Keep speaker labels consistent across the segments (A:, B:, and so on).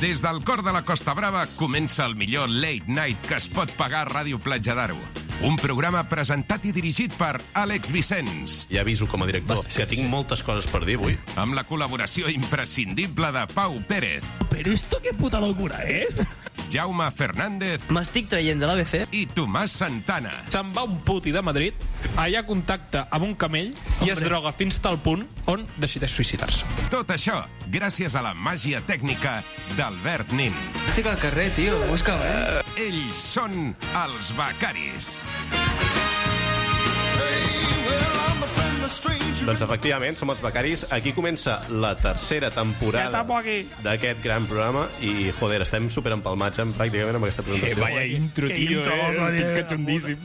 A: Des del cor de la Costa Brava comença el millor late night que es pot pagar a Ràdio Platja d'Aro. Un programa presentat i dirigit per Àlex Vicenç,
B: Ja aviso com a director
C: Bastant,
B: que tinc
C: sí.
B: moltes coses per dir avui.
A: amb la col·laboració imprescindible de Pau Pérez,
D: Pero esto qué puta locura eh? es.
A: Jaume Fernández
C: M'estic traient de l'ABC.
A: i Tomàs Santana.
E: Se'n va un puti de Madrid, allà contacta amb un camell i es droga fins tal punt on decideix suïcidar-se.
A: Tot això gràcies a la màgia tècnica d'Albert Nin.
C: Estic al carrer, tio. Busca'm, eh?
A: Ells són els Becaris.
B: Doncs efectivament, som els becaris. Aquí comença la tercera temporada d'aquest gran programa i, joder, estem super empalmats amb, pràcticament amb aquesta
C: Eh,
B: presentació.
E: intro, tio, eh? Estic catxondíssim.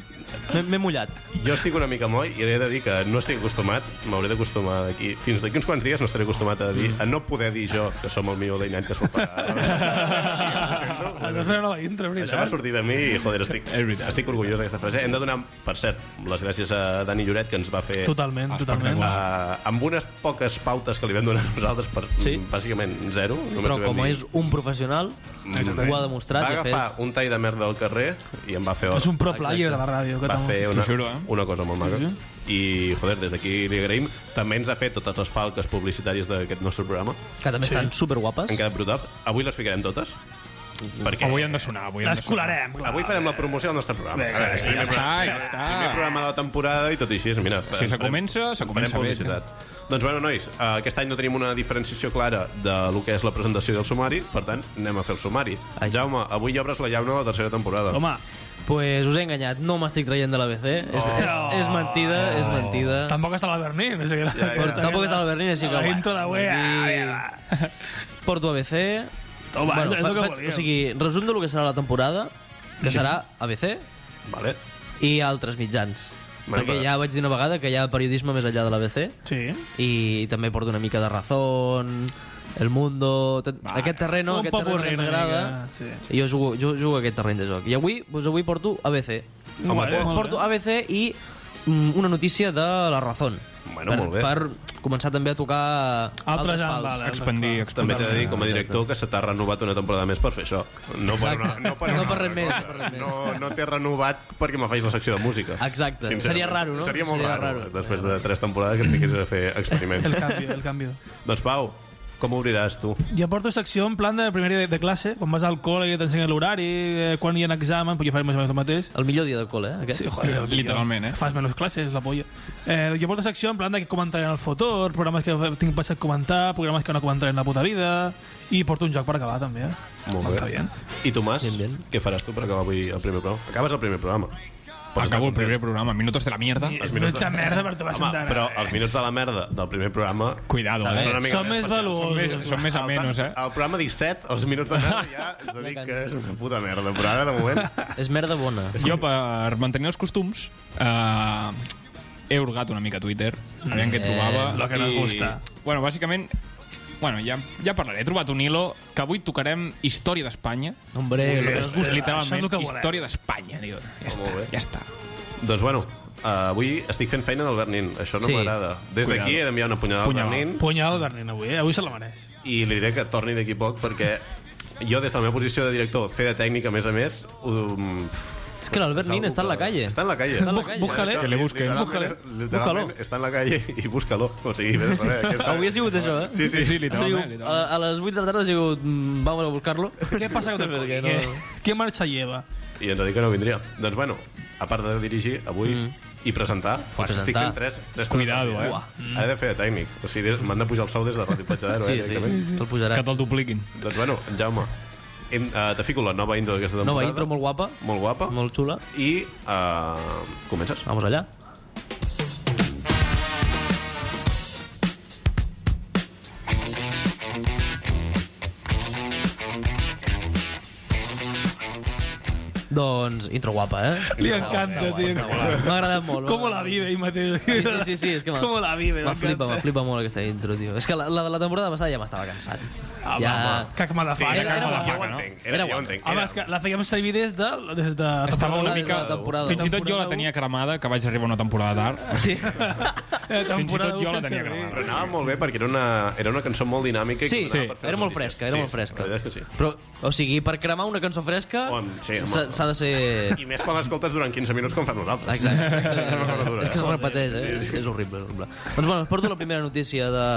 C: M'he- M'he mullat.
B: Jo estic una mica moll i he de dir que no estic acostumat, m'hauré d'acostumar d'aquí. Fins d'aquí uns quants dies no estaré acostumat a,
C: Mm.
B: dir, a no poder dir jo que som el millor deinat que es pot pagar.
D: la intro,
B: Això va sortir de mi i, joder, estic, estic orgullós d'aquesta frase. Hem de donar, per cert, les gràcies a Dani Lloret, que ens va fer...
D: Totalment, totalment.
B: Uh, amb unes poques pautes que li vam donar nosaltres per sí?
C: Sí.
B: bàsicament zero. només
C: Però
B: li vam
C: com
B: dir,
C: és un professional, ho ha demostrat.
B: Mm. va
C: i ha
B: agafar
C: fet.
B: un tall de merda al carrer i em va fer
D: És
B: hora.
D: un pro player de la ràdio.
B: Va
D: Que
B: fer una,
E: juro, eh?
B: una cosa molt maca. I, joder, des d'aquí li agraïm. També ens ha fet totes les falques publicitàries d'aquest nostre programa.
C: Que també estan superguapes.
B: Han quedat brutals. Avui les ficarem totes. Perquè
E: Avui han de sonar, avui han de sonar.
D: L'escolarem, clar.
B: avui farem la promoció del nostre programa. A veure, és
E: Ja
B: primer,
E: està, ja
B: primer
E: està.
B: programa de la temporada i tot i així, mira...
E: Si se comença, se comença
B: farem
E: bé,
B: publicitat. Doncs bueno, nois, eh, aquest any no tenim una diferenciació clara de lo que és la presentació del sumari, per tant, anem a fer el sumari.
C: Ai.
B: Jaume, avui ja obres la llauna de la tercera temporada.
D: Home,
C: Pues us he enganyat, no m'estic traient de l'ABC. És, és,
D: Oh.
C: és mentida,
B: Oh.
C: és mentida.
D: tampoc està l'Albert Nin. Ja,
B: ja.
C: Tampoc està l'Albert Nin, així que...
D: La
C: bueno,
D: intro de
C: vull
D: wea,
C: dir, Porto ABC...
D: Toma, és el que volíem.
C: o sigui, resum del que serà la temporada, que serà ABC
B: Vale.
C: i altres mitjans.
B: Bueno,
C: Perquè
B: però-
C: ja vaig dir una vegada que hi ha periodisme més enllà de l'ABC.
D: Sí.
C: i també porta una mica de Razón, El Mundo... Tot, aquest terreno,
D: un
C: aquest terreno
D: popurrí
C: que ens
D: una
C: agrada.
D: mica,
C: I Jo jugo, jo jugo a aquest terreny de joc. I avui, doncs avui porto ABC.
B: Home, té.
D: molt
C: Porto ABC i mm, una notícia de la Razón.
B: Bueno,
C: per,
B: molt bé.
C: Per començar també a tocar
D: Altres
C: altres pals.
D: ambales.
E: Expandir, expandir.
B: També t'he de dir, com a director, que se t'ha renovat una temporada més per fer això. No per, una,
C: Exacte.
B: no per,
C: No
B: una
C: per res
B: altra
C: més,
B: cosa.
C: no per res més.
B: No, no t'he renovat perquè me facis la secció de música.
C: Exacte.
B: Sincerament.
C: Seria raro, no?
B: Seria molt
C: Seria
B: raro, eh,
C: raro.
B: després de tres temporades que et fiquessis a fer
D: El
B: experiments.
D: canvi, el canvi.
B: doncs Pau, com obriràs tu?
D: Jo porto secció en plan de primer dia de, de classe, quan vas al col·le i t'ensenyen l'horari, eh, quan hi ha examen, perquè jo faré més o menys el mateix.
C: El millor dia de col·le, eh? Aquest.
D: Sí, joder,
E: Literalment, eh?
D: Fas menys classes, la polla. Eh, jo porto secció en plan de que comentaré en el futur, programes que tinc pensat comentar, programes que no comentaré en la puta vida, i porto un joc per acabar, també. Eh?
B: Molt
D: Està bé.
B: I Tomàs,
C: Bien, bien.
B: què faràs tu per acabar avui el primer programa? Acabes el primer programa. Pots estar
E: Acabo el
B: content.
E: primer programa, Minutos de la Mierda.
B: Els minuts
D: Minuts de merda, però tu vas eh?
B: Home,
D: entrar.
B: però els minuts de la merda del primer programa...
E: Cuidado,
B: Són una
E: eh?
B: mica
D: Són més
B: especials.
D: valuosos.
E: Són més- Són més a menys, eh?
B: El programa 17, els minuts de merda, ja us dic que és una puta merda, però ara, de moment...
C: És merda bona.
E: Jo, per mantenir els costums, eh, he hurgat una mica a Twitter, aviam què
C: Eh,
E: trobava.
D: Mm. lo que nos gusta.
E: Bueno, bàsicament, bueno, ja, ja parlaré. He trobat un hilo que avui tocarem Història d'Espanya.
C: Hombre,
D: Molt bé.
C: lo que
D: Eh, Això és el
E: Literalment,
D: que volem.
E: Història d'Espanya. diu. Ja
B: Molt
E: està,
B: bé.
E: ja està.
B: Doncs bueno, uh, avui estic fent feina del Bernin, això no
C: Sí.
B: m'agrada. Des
E: Cuidado.
B: d'aquí he d'enviar una punyada al
E: Punyal.
B: Bernin
D: Punyal al Bernin avui, eh? avui se la mereix.
B: i li diré que torni d'aquí poc perquè jo des de la meva posició de director, fer de tècnic a més a més, um,
C: És que l'Albert Nin està en la calle.
B: Està en la calle.
C: Està en la calle.
D: Búscale.
B: Això,
E: Que le busquen.
B: literalment,
D: Búscale.
B: literalment,
C: Búscalo.
B: Està en la calle i búscalo. O sigui, vés a saber. Aquesta...
C: Avui ha sigut això, eh?
B: Sí, sí, sí.
C: Diu, a,
E: literalment. literalment.
C: a les 8 de la tarda ha sigut... mm, Vamos a buscarlo.
D: Què passa que
C: Perquè
D: no...
C: no-
D: què, què marxa lleva?
B: I ens ha dit que no vindria. Doncs bueno, a part de dirigir avui i presentar, fa,
C: Mm. presentar.
B: estic fent tres, tres
E: Cuidado,
B: coses.
E: eh?
C: Uah.
B: Ara he de fer de tècnic. O sigui, des- m'han de pujar el sou des de Ràdio Platja d'Aro,
C: Sí,
B: eh?
C: sí,
B: directament.
C: te'l
D: Ah.
C: posarà.
E: Que te'l dupliquin.
B: Doncs bueno, en Jaume, hem, eh, te fico la nova intro d'aquesta temporada.
C: Nova intro molt guapa,
B: Molt guapa.
C: molt xula.
B: I eh, comences.
C: Vamos allá. Doncs, intro guapa, eh?
D: Li encanta,
C: Guapa,
D: tio.
C: guapa, guapa. M'ha agradat molt.
D: Com
C: m'ha
D: la
C: agradat
D: vive ell mateix.
C: Sí, sí, sí, sí, és que m'ha-
D: Com la vive.
C: M'ha flipa, m'ha
D: m'encanta.
C: flipa molt aquesta intro, tio. És que la, la de la temporada passada ja m'estava cansat.
D: Ah,
C: ja...
D: home, Cac malafaca.
C: era-
D: cac
C: era
D: malafaca.
B: Ja ho
C: guapa,
B: entenc,
C: Era
B: era, ja ho
C: guapa.
B: entenc.
D: Home,
B: Era-
D: és que la fèiem servir des de... Des de
E: Estava una
C: de la
E: mica...
C: temporada
E: Fins i tot jo
D: Temporada
E: la
D: u.
E: tenia cremada, que vaig arribar una temporada
D: Ah.
E: tard.
C: Sí.
D: Eh, temporada
E: tot
D: u
E: jo la
D: fem
E: tenia
D: servir.
E: gravada.
B: Però anava molt bé perquè era una, era una cançó molt dinàmica. i
C: Sí,
B: que
C: sí,
B: donava per fer
C: era
B: les
C: molt
B: notícies.
C: fresca, era
B: Sí,
C: molt fresca.
B: La veritat és que sí.
C: Però, o sigui, per cremar una cançó fresca
B: Home, sí, home.
C: s'ha s'ha de ser...
B: I més quan l'escoltes durant 15 minuts com fan nosaltres.
C: Exacte.
B: Exacte.
C: és que es repeteix, eh? És, que és horrible, és horrible. Doncs bueno, us porto la primera notícia de,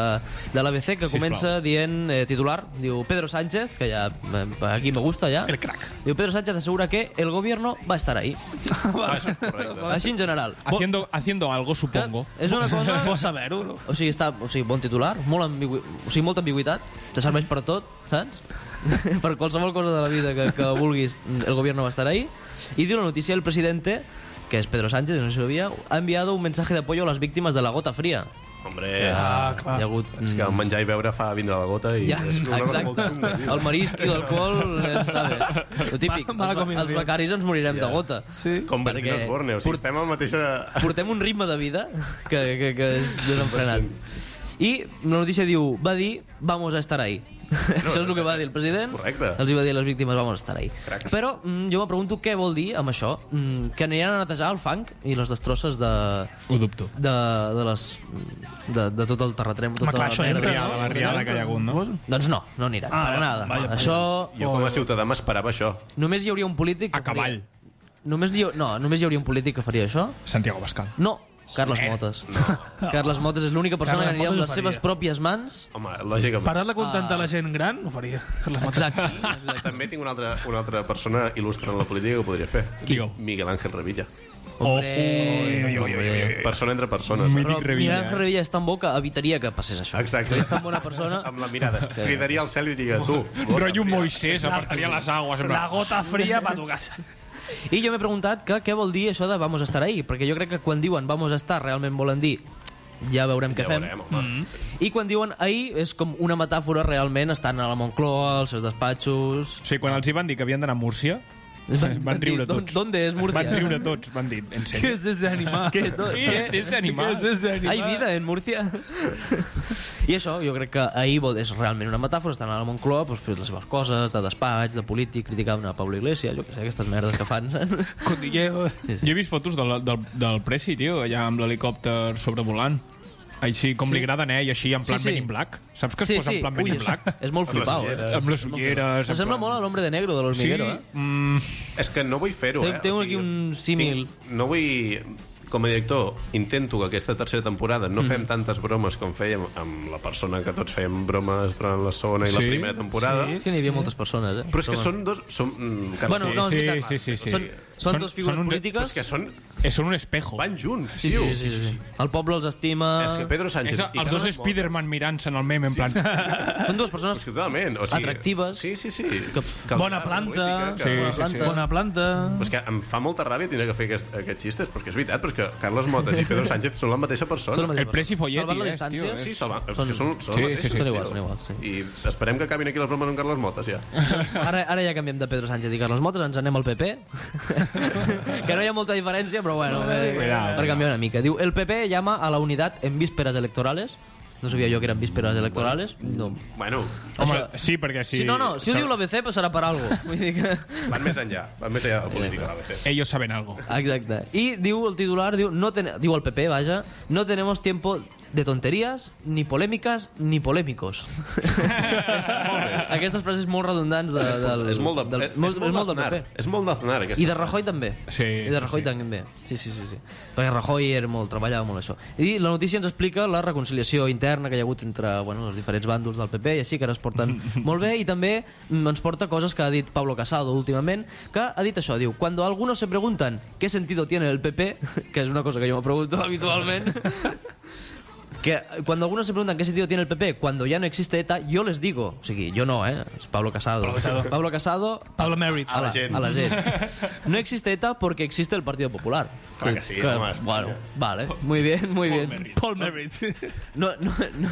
C: de l'ABC que comença dient eh, titular, diu Pedro Sánchez, que ja eh, aquí me gusta ja.
D: El crack.
C: Diu Pedro Sánchez assegura que el gobierno va a estar ahí.
B: Ah, això és correcte. Ah,
C: Així en general.
E: Haciendo, haciendo algo,
C: Que
E: supongo.
D: Ah.
C: És una cosa...
D: Vols saber-ho, no?
C: O sigui, està, o sigui, bon titular, molt ambigu... o sigui, molta ambigüitat, te serveix per tot, saps? per qualsevol cosa de la vida que, que vulguis, el gobierno va a estar ahí. Y dio la noticia, el presidente, que es Pedro Sánchez, no sé si lo había, ha enviado un mensaje de apoyo a las víctimas de la gota fría.
B: Hombre,
D: Ah,
C: Hi
D: clar.
C: ha hagut... mm,
B: és que menjar i beure fa vindre la gota i
C: Ja,
B: és una cosa molt eh.
C: exacte.
B: xunga. tio.
C: El marisc i l'alcohol, eh, se sabe. Lo típic,
D: Mala
C: els,
D: combinació.
C: va- els becaris ens morirem de gota.
D: Sí.
B: Com Bertín
C: perquè
B: Osborne, o sigui, estem al mateix...
C: portem un ritme de vida que, que, que és desenfrenat. I la notícia diu, va dir, vamos a estar ahí. Això és el que va dir el president.
B: Correcte.
C: Els hi va dir a les víctimes, vamos a estar ahí.
B: Cracs.
C: Però mm, jo me pregunto què vol dir amb això. Mm, que aniran a netejar el fang i les destrosses de...
E: Ho dubto.
C: De, de, les, de, de tot el terratrem, tota
D: Home,
C: la
D: clar, això
C: merda.
D: entra,
E: riada,
D: no?
E: la riada que hi ha hagut, no?
C: Doncs no, no aniran,
D: Ah,
C: per
D: va-
C: nada.
D: vaja,
C: això...
B: Jo com a ciutadà m'esperava això.
C: Només hi hauria un polític... que
E: A cavall.
C: Faria... Només hi... ha- No, només hi hauria un polític que faria això.
E: Santiago Pascal.
C: No, Carles Motes. Carles Motes és l'única persona
D: Carles
C: que aniria amb
D: Motes
C: les
D: ho faria.
C: seves pròpies mans.
B: Home, lògicament.
D: Per dar-la
E: Ah.
D: contenta a la gent gran, ho faria.
C: Exacte. exacte.
B: També tinc una altra, una altra persona il·lustre en la política que ho podria fer.
E: Digue-ho.
B: Miguel Ángel Revilla. eh,
C: Hombre, hombre.
B: Persona entre persones.
C: Però
E: Revilla,
C: Miran Revilla és tan bo que evitaria que passés això.
B: eh. Exacte.
C: És tan bona persona.
B: Amb la mirada.
C: Que-
B: Cridaria al cel i diria, tu...
E: Rollo Moisés, apartaria les aguas. en plan, "Ah,
D: La gota fria va a tu casa.
C: I jo m'he preguntat que què vol dir això de vamos a estar ahí, perquè jo crec que quan diuen vamos a estar realment volen dir ja veurem què
B: Ja
C: fem. Mm.
B: veurem, home.
C: I quan diuen ahí és com una metàfora realment estan a la Moncloa, als seus despatxos...
E: O sigui, quan els hi van dir que havien d'anar a Múrcia, van, van
C: dir,
E: riure tots.
C: "D'on- D'on és Murcia?
E: Van riure tots, van dir, en
D: Què
E: sèrio.
D: és ese animal?
C: Què és?
E: Què és ese animal?
D: Què és ese animal?
C: Hay
E: eh?
C: vida en Múrcia. I això, jo crec que ahir vol- és realment una metàfora, estan a la Moncloa, doncs, fer les seves coses, de despatx, de polític, criticar una Pablo Iglesias, jo què sé, aquestes merdes que fan.
D: Cotilleo.
E: Jo he vist fotos del, del, del Preci, tio, allà amb l'helicòpter sobrevolant. Així, com li agraden, eh? I així, en plan
C: Sí, sí.
E: Men in Black. Saps que es posa en plan Men
C: Ui,
E: in Black?
C: és, és molt
B: Amb les
C: flipau, eh?
B: ulleres.
E: Amb les ulleres... en
C: S'assembla
E: plan-
C: molt a l'Hombre de Negro de
E: Sí,
C: l'Hormiguero, eh?
E: mm,
B: És que no vull fer-ho,
C: Té-
B: eh?
C: té aquí un símil.
B: tinc- No vull... Com a director, intento que aquesta tercera temporada no
C: Mm.
B: fem tantes bromes com fèiem amb la persona que tots fèiem bromes durant la segona i la
E: Sí,
B: primera temporada.
C: És que n'hi havia moltes persones, eh?
B: Però és que
C: Toma.
B: són dos... Som, mm, Carles,
C: Bueno, no, és
E: Sí,
C: veritat.
E: sí, sí, sí.
C: Són, són,
E: Són-
C: dos
E: són
C: figures
E: un re-
B: Però és
C: polítiques...
B: que són...
E: és un espejo.
B: Van junts,
C: Sí,
B: tio.
C: sí, sí, sí, sí. El poble els estima...
B: És que Pedro
E: És
B: Sánchez... i
E: els dos
B: Carles Moll-
E: Spiderman mirant-se en el meme, en plan...
C: Són dues persones
B: És que totalment. O sigui,
C: Atractives.
B: Sí, sí, sí.
C: Que-
B: els
D: Bona
B: agrada la
D: planta.
B: política, que-
E: Sí, sí,
C: planta.
D: Bona planta.
B: Però és que em fa molta ràbia tindre que fer aquest, aquests xistes, però és que és veritat, però és que Carles Motes i Pedro Sánchez són la mateixa persona.
C: Són la mateixa
E: El Preci
C: persona.
E: Folletti,
C: Salvant la
E: eh,
C: distància,
E: tio,
B: Sí,
E: és-
B: són, la, és que són, són
E: Sí,
B: la mateixa,
E: sí, sí.
C: Són iguals,
B: tio.
C: són iguals, sí.
B: I esperem que acabin aquí les bromes amb Carles Motes, ja.
C: Ara, ara ja canviem de Pedro Sánchez i Carles Motes, ens anem al PP. que no hi ha molta diferència, però bueno, eh,
E: Cuidao.
C: per canviar una mica. Diu, el PP llama a la unitat en vísperes electorales. No sabia jo que eren vísperes electorales. No.
B: Bueno,
E: Mm, Home,
C: Això-
E: sí, perquè si...
C: Si no, no, si ho diu l'ABC passarà per algo. Vull dir que...
B: van més enllà, van més enllà de la política, la BC.
E: Ellos saben algo.
C: Exacte. I diu el titular, diu, no ten... diu el PP, vaja, no tenemos tiempo de tonterías, ni polémicas, ni polémicos. Aquestes frases molt redundants de, del,
B: és molt de,
C: del,
B: és,
C: molt, és molt del
B: d'Aznar,
C: PP.
B: És molt d'Aznar, aquesta.
C: I de Rajoy també.
E: Sí,
C: I de Rajoy
E: sí.
C: també. Sí, sí, sí, sí. Perquè Rajoy era molt, treballava molt això. I la notícia ens explica la reconciliació interna que hi ha hagut entre bueno, els diferents bàndols del PP i així, que ara es porten molt bé. I també mm, ens porta coses que ha dit Pablo Casado últimament, que ha dit això, diu, cuando algunos se preguntan qué sentido tiene el PP, que és una cosa que jo me pregunto habitualment, que cuando algunos se preguntan qué sentido tiene el PP cuando ya no existe ETA, yo les digo, o sigui, yo no, ¿eh? Es Pablo Casado. Pablo Casado,
D: Pablo Merritt.
C: a, la,
B: gent.
C: a la gent. No existe ETA porque existe el Partido Popular.
B: Clar que sí, home, Espanya.
C: bueno, vale, muy bien, muy bien.
D: Paul Merritt.
C: No, no, no,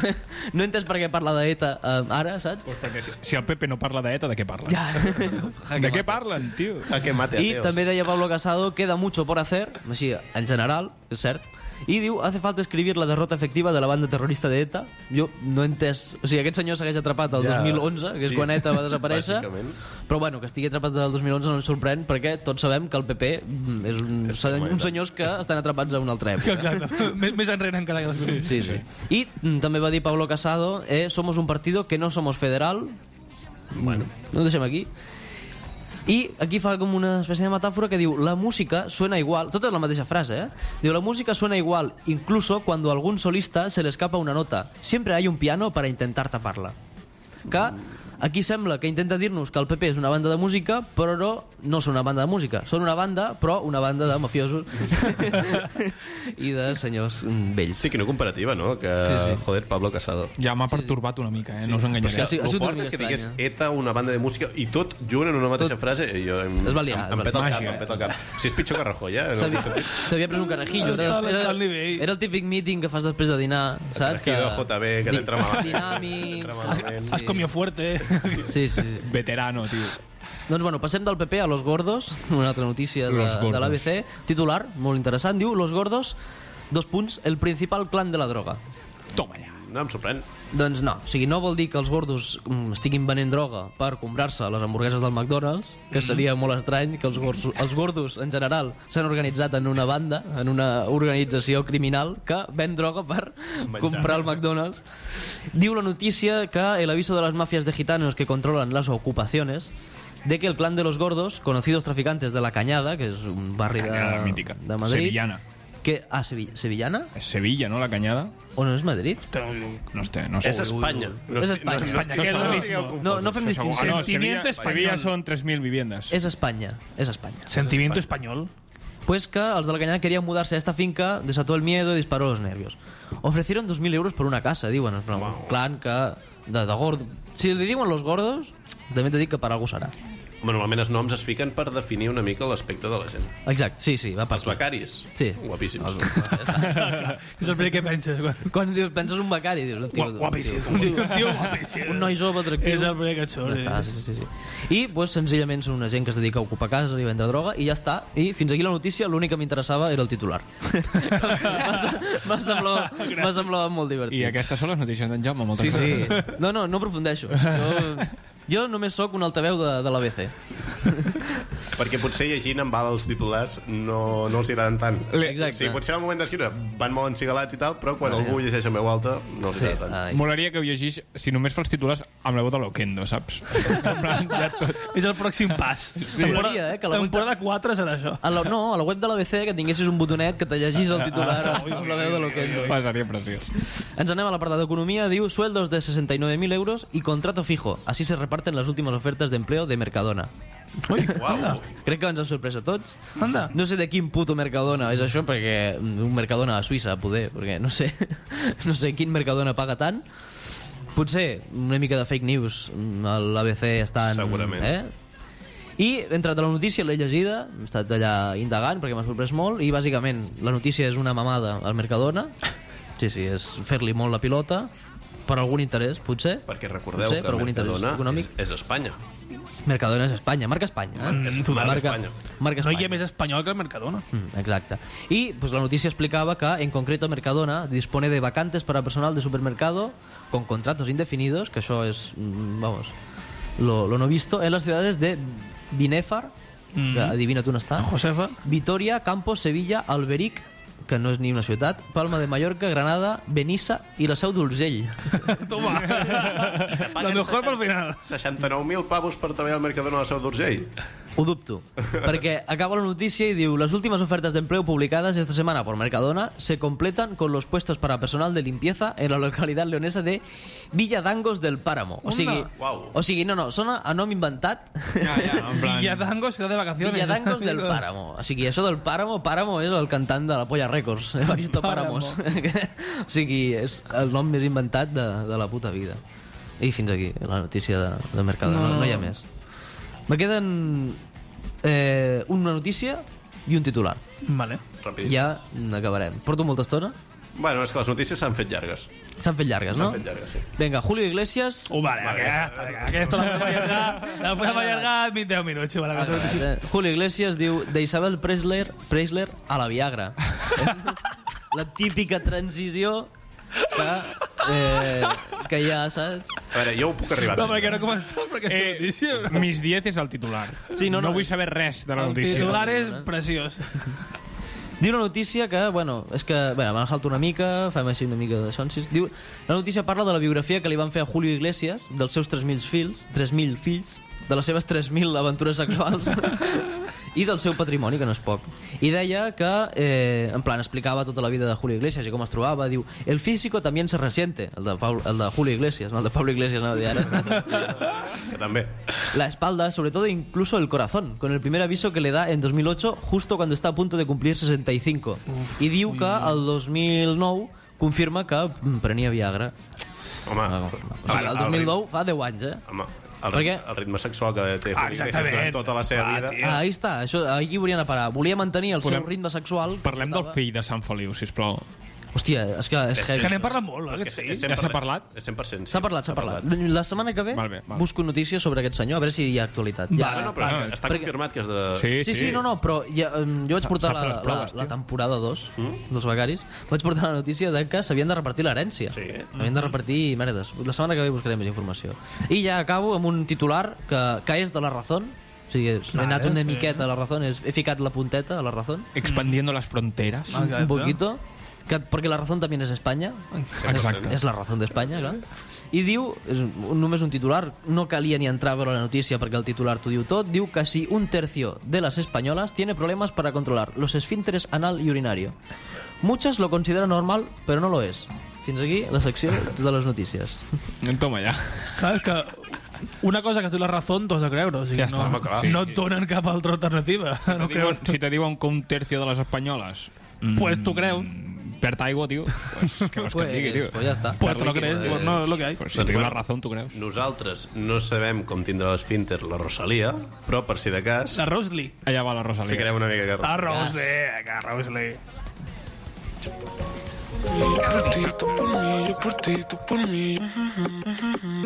C: no he entès per què parla d'ETA eh, ara, saps?
E: Pues perquè si, si el PP no parla d'ETA, de què parla?
C: Ja.
E: De què parlen, tio?
B: A que mate
C: Y
B: ateos.
C: también deia Pablo Casado, queda mucho por hacer, així, en general, és cert, i diu, hace falta escribir la derrota efectiva de la banda terrorista de ETA. Jo no he entès... O sigui, aquest senyor s'hagués atrapat el
B: Ja,
C: 2011, que és
B: sí.
C: quan ETA va desaparèixer.
B: Bàsicament.
C: Però bueno, que estigui atrapat del 2011 no ens sorprèn, perquè tots sabem que el PP mm, és un,
B: És
C: són
B: com ETA.
C: uns senyors que estan atrapats a una altra època.
D: Exacte. Més, més enrere encara que les
C: Sí, sí. I mm, també va dir Pablo Casado, eh, somos un partido que no somos federal. Bueno. No ho deixem aquí. I aquí fa com una espècie de metàfora que diu la música suena igual, tota la mateixa frase, eh? Diu la música suena igual incluso cuando a algún solista se le escapa una nota. Siempre hay un piano para intentar taparla. Que aquí sembla que intenta dir-nos que el PP és una banda de música, però no, no són una banda de música. Són una banda, però una banda de mafiosos i de senyors mm, vells.
B: Sí, quina comparativa, no? Que,
C: Sí, sí.
B: joder, Pablo Casado.
E: Ja m'ha pertorbat una mica, eh? No us
B: Però és
E: enganyaré.
B: que
C: Sí, ha
B: el
C: sigut una
B: fort
C: mica
B: és que digués
C: estrany,
B: ETA, una banda de música, i tot junt en una mateixa
C: Tot-
B: frase, i jo em,
C: Es va liar, es
B: em, em
C: va
B: peta el cap,
E: liar.
B: em peta el cap. Si és pitjor que Rajoy, eh? No,
C: S'havia s'havia pres un carajillo. Era,
D: Estava
C: era,
D: al nivell.
C: era el típic míting que fas després de dinar, saps?
B: Carajillo, JB, que
C: di-
B: t'entra malament.
C: Dinàmic...
B: T'entra
C: saps?
B: malament.
D: Has comido fuerte.
C: Sí, sí, sí.
E: Veterano, tio.
C: Doncs bueno, passem del PP a Los Gordos, una altra notícia de,
E: Los Gordos.
C: de l'ABC. Titular, molt interessant, diu Los Gordos, dos punts, el principal clan de la droga.
E: Toma ja.
B: no em sorprèn.
C: Doncs no, o sigui, no vol dir que els gordos mm, estiguin venent droga per comprar-se les hamburgueses del McDonald's,
E: Mm.
C: que seria molt estrany que els, gordos, els gordos en general s'han organitzat en una banda, en una organització criminal que ven droga per
B: Menjar.
C: comprar el McDonald's. Diu la notícia que el aviso de las mafias de gitanos que controlan las ocupaciones de que el clan de los gordos, conocidos traficantes de La Cañada, que es un barri de,
E: Cañada mítica.
C: de Madrid...
E: Sevillana.
C: Que, ah, Sevi- Sevillana?
E: És Sevilla, no, la canyada?
C: ¿O no es Madrid?
E: No esté, no sé.
B: És Espanya. No,
C: És
B: sé-
C: Espanya.
B: no- no-
D: Espanya, que
B: no-
D: és lo
B: no-
D: mismo.
B: no-
C: No, no fem distinció.
E: Ah, no, Sevilla,
D: Sentimiento español.
E: Sevilla són 3.000 viviendes.
C: És Espanya, és Espanya.
D: Sentimiento español.
C: Pues que els de la Cañada querían mudarse a esta finca, desató el miedo y disparó los nervios. Ofrecieron 2.000 euros por una casa, diuen. És un clan que... De, de gordo. Si li diuen los gordos, també t'he dit que per algú serà.
B: Bueno, Normalment els noms es fiquen per definir una mica l'aspecte de la gent.
C: Exacte, sí, sí, va per
B: Els becaris.
C: Sí.
B: Guapíssims.
D: És el primer que penses. quan-
C: Quan dius, penses un becari, dius... Tio,
D: Guap- Guapíssim.
C: tio,
D: Un tio un tio guapíssim.
C: Un noi jove, atractiu.
D: És el primer que et surt. eh.
C: Ja està, sí, sí, sí. I pues, senzillament són una gent que es dedica a ocupar cases i vendre droga i ja està. I fins aquí la notícia, l'únic que m'interessava era el titular. M'ha se- m'ha semblat, m'ha semblat molt divertit.
E: I aquestes són les notícies d'en Jaume,
C: Sí,
E: moltes
C: sí.
E: gràcies.
C: No, no, no aprofundeixo. Jo, jo només sóc un altaveu de, de l'ABC.
B: Perquè potser llegint amb alt els titulars no, no els agraden tant.
C: Exacte.
B: Sí, potser en el moment d'escriure van molt encigalats i tal, però quan algú llegeix en veu alta no
C: Doncs
B: els agrada tant.
C: Ai.
E: Molaria que ho llegís, si només fas titulars, amb la veu de l'Oquendo, saps? En plan, ja tot.
D: És el pròxim pas.
C: Molaria, eh, que la Ah.
D: temporada 4 serà això.
C: A la, no, a la web de l'ABC que tinguessis un botonet que te llegís el titular amb la veu de lo que...
E: Passaria preciós.
C: Ens anem a l'apartat d'economia, diu sueldos de 69.000 euros y contrato fijo. Así se reparten las últimas ofertas de empleo de Mercadona.
D: Ui,
B: Uau.
C: Crec que ens ha sorprès a tots.
D: Anda.
C: No sé de quin puto Mercadona és això, perquè un Mercadona a Suïssa, poder, perquè no sé, no sé quin Mercadona paga tant. Potser una mica de fake news, mm, l'ABC està en...
B: Segurament.
C: Eh? I he entrat a la notícia, l'he llegida, he estat allà indagant perquè m'ha sorprès molt i bàsicament la notícia és una mamada al Mercadona. Sí, sí, és fer-li molt la pilota per algun interès, potser.
B: Perquè recordeu
C: potser, per
B: que
C: algun interès
B: Mercadona
C: econòmic.
B: és, és Espanya.
C: Mercadona és Espanya, marca Espanya.
D: Mm.
C: Eh?
B: És marca Espanya.
C: Marca
D: No
C: Espanya.
D: hi ha més espanyol que el Mercadona.
C: Mm, Exacte. Y pues la noticia explicaba que en concreto Mercadona dispone de vacantes para personal de supermercado con contratos indefinidos, que eso es, mm, vamos, lo, lo no visto, en las ciudades de Binefar,
D: Mm.
C: que adivina tú no está,
D: Ah, Josefa.
C: Vitoria, Campos, Sevilla, Alberic, que no es ni una ciudad, Palma de Mallorca, Granada, Benissa y la Seu d'Urgell.
D: Toma. la mejor pel final.
B: 69.000 pavos per treballar al Mercadona a la Seu d'Urgell.
C: Ho dubto, perquè acaba la notícia y diu las últimas ofertas de empleo publicadas esta semana por Mercadona se completan con los puestos para personal de limpieza en la localidad leonesa de Villadangos del Páramo. O
D: Onda.
C: sigui,
B: Uau.
C: o sigui, no, no, sona a nom inventat,
E: Ja, ja, en plan...
D: Villadango, ciudad de vacaciones.
C: Villadangos del Páramo. O sigui, això del Páramo, Páramo és el cantant de la Polla Records, he vist
D: Páramo.
C: Páramos. o sigui, és el nom més inventat de, de la puta vida. I fins aquí, la notícia de, de Mercadona, no, no, no hi ha més. Me queden eh, una notícia i un titular.
D: Vale.
B: Ràpid.
C: Ja acabarem. Porto molta estona.
B: Bueno, és que les notícies s'han fet llargues.
C: S'han fet llargues, no?
B: S'han fet llargues, sí.
C: Vinga, Julio Iglesias...
D: Uh, vale, vale, ja està. vinga, Aquesta la podem allargar, la podem allargar en 20 minuts. Vale,
C: Ah,
D: aquesta notícia.
C: eh, Julio Iglesias diu de Isabel Presler, Presler a la Viagra. la típica transició que, eh, que ja saps...
B: A veure, jo ho puc arribar.
D: No, perquè no començó, perquè aquesta
E: Eh,
D: notícia...
E: Mis 10 és el titular.
C: Sí, no, no.
E: vull saber res de la
D: El
E: notícia.
D: titular és preciós.
C: Diu una notícia que, bueno, és que... Bueno, me la salto una mica, fem així una mica de sonsis. Diu, la notícia parla de la biografia que li van fer a Julio Iglesias, dels seus 3.000 fills, 3.000 fills, de les seves 3.000 aventures sexuals i del seu patrimoni, que no és poc. I deia que, eh, en plan, explicava tota la vida de Julio Iglesias i com es trobava. Diu, el físico también se resiente, el de, Pablo, el de Julio Iglesias, no el de Pablo Iglesias, no, de ara.
B: Que també.
C: La espalda, sobre todo incluso el corazón, con el primer aviso que le da en 2008, justo cuando está a punto de cumplir 65. I diu que el 2009 confirma que mm, prenia Viagra.
B: Home,
C: Ah,
B: a
C: o sigui,
B: veure,
C: el
B: ritme-
C: 2009 fa 10 anys, eh?
B: Home, el,
C: Per què?
B: ritme, el ritme sexual que té Julio Iglesias
D: Ah, exactament.
B: durant tota la seva
D: Ah,
B: vida...
D: tio.
C: Ah, ahí està, això, aquí volien anar a parar. Volia mantenir el seu
E: Podem-
C: ritme sexual. que
E: Parlem del
C: portava.
E: fill de Sant Feliu, sisplau.
C: Hòstia, és que és
D: Que
C: heavy.
D: n'hem parlat molt,
B: És que
D: aquest
B: és
D: sí.
B: 100%,
E: Ja s'ha parlat?
B: És 100%. sí.
C: S'ha parlat, s'ha parlat. La setmana que ve,
E: Val bé, val.
C: busco notícies sobre aquest senyor, a veure si hi ha actualitat. Hi ha-
B: Ah, no, però és que està
C: Perquè-
B: confirmat que és de...
E: Sí,
C: Sí, sí, no, no, però ja, em, jo vaig portar
E: s'ha fet
C: la,
E: les proves,
C: la, la
E: tio. Mm?
C: temporada 2 dels Becaris, vaig portar la notícia de que s'havien de repartir l'herència.
B: Sí.
C: Havien de
E: Mm-hmm.
C: repartir merdes. La setmana que ve buscaré més informació. I ja acabo amb un titular que, que és de la Razón. O sigui, és- he anat una miqueta a la Razón, he ficat la punteta a la Razón,
E: Expandiendo les fronteres.
C: un poquito, que, perquè la Razón també és Espanya,
E: Exacte.
C: és la raó d'Espanya, clar. I diu, és un- només un titular, no calia ni entrar a veure la notícia perquè el titular t'ho diu tot, diu que si un tercio de las españolas tiene problemas para controlar los esfínteres anal y urinario. Muchas lo consideran normal, pero no lo es. Fins aquí la secció de les notícies.
E: Toma ja.
D: Clar, és que una cosa que es diu la raó t'ho has de creure. O sigui,
E: Ja
D: no,
E: està, home, clar. Sí,
D: no et
E: sí.
D: donen cap altra alternativa.
E: Diuen-
D: No creus,
E: Si te diuen que un tercio de les espanyoles
D: pues tu creus.
E: perd aigua, tio, pues, què vols que et digui, tio? eh,
C: pues ja està.
D: Pues te lo crees, pues no, lo que hay.
E: Pues si tinc la raó, tu creus.
B: Nosaltres no sabem com tindrà l'esfínter la Rosalia, però per si de cas,
D: La Rosli.
E: Allà va la Rosalia.
B: ficarem una mica que...
D: La Rosli, la Rosli.
F: Tú por mí, yo por ti, tú por mí.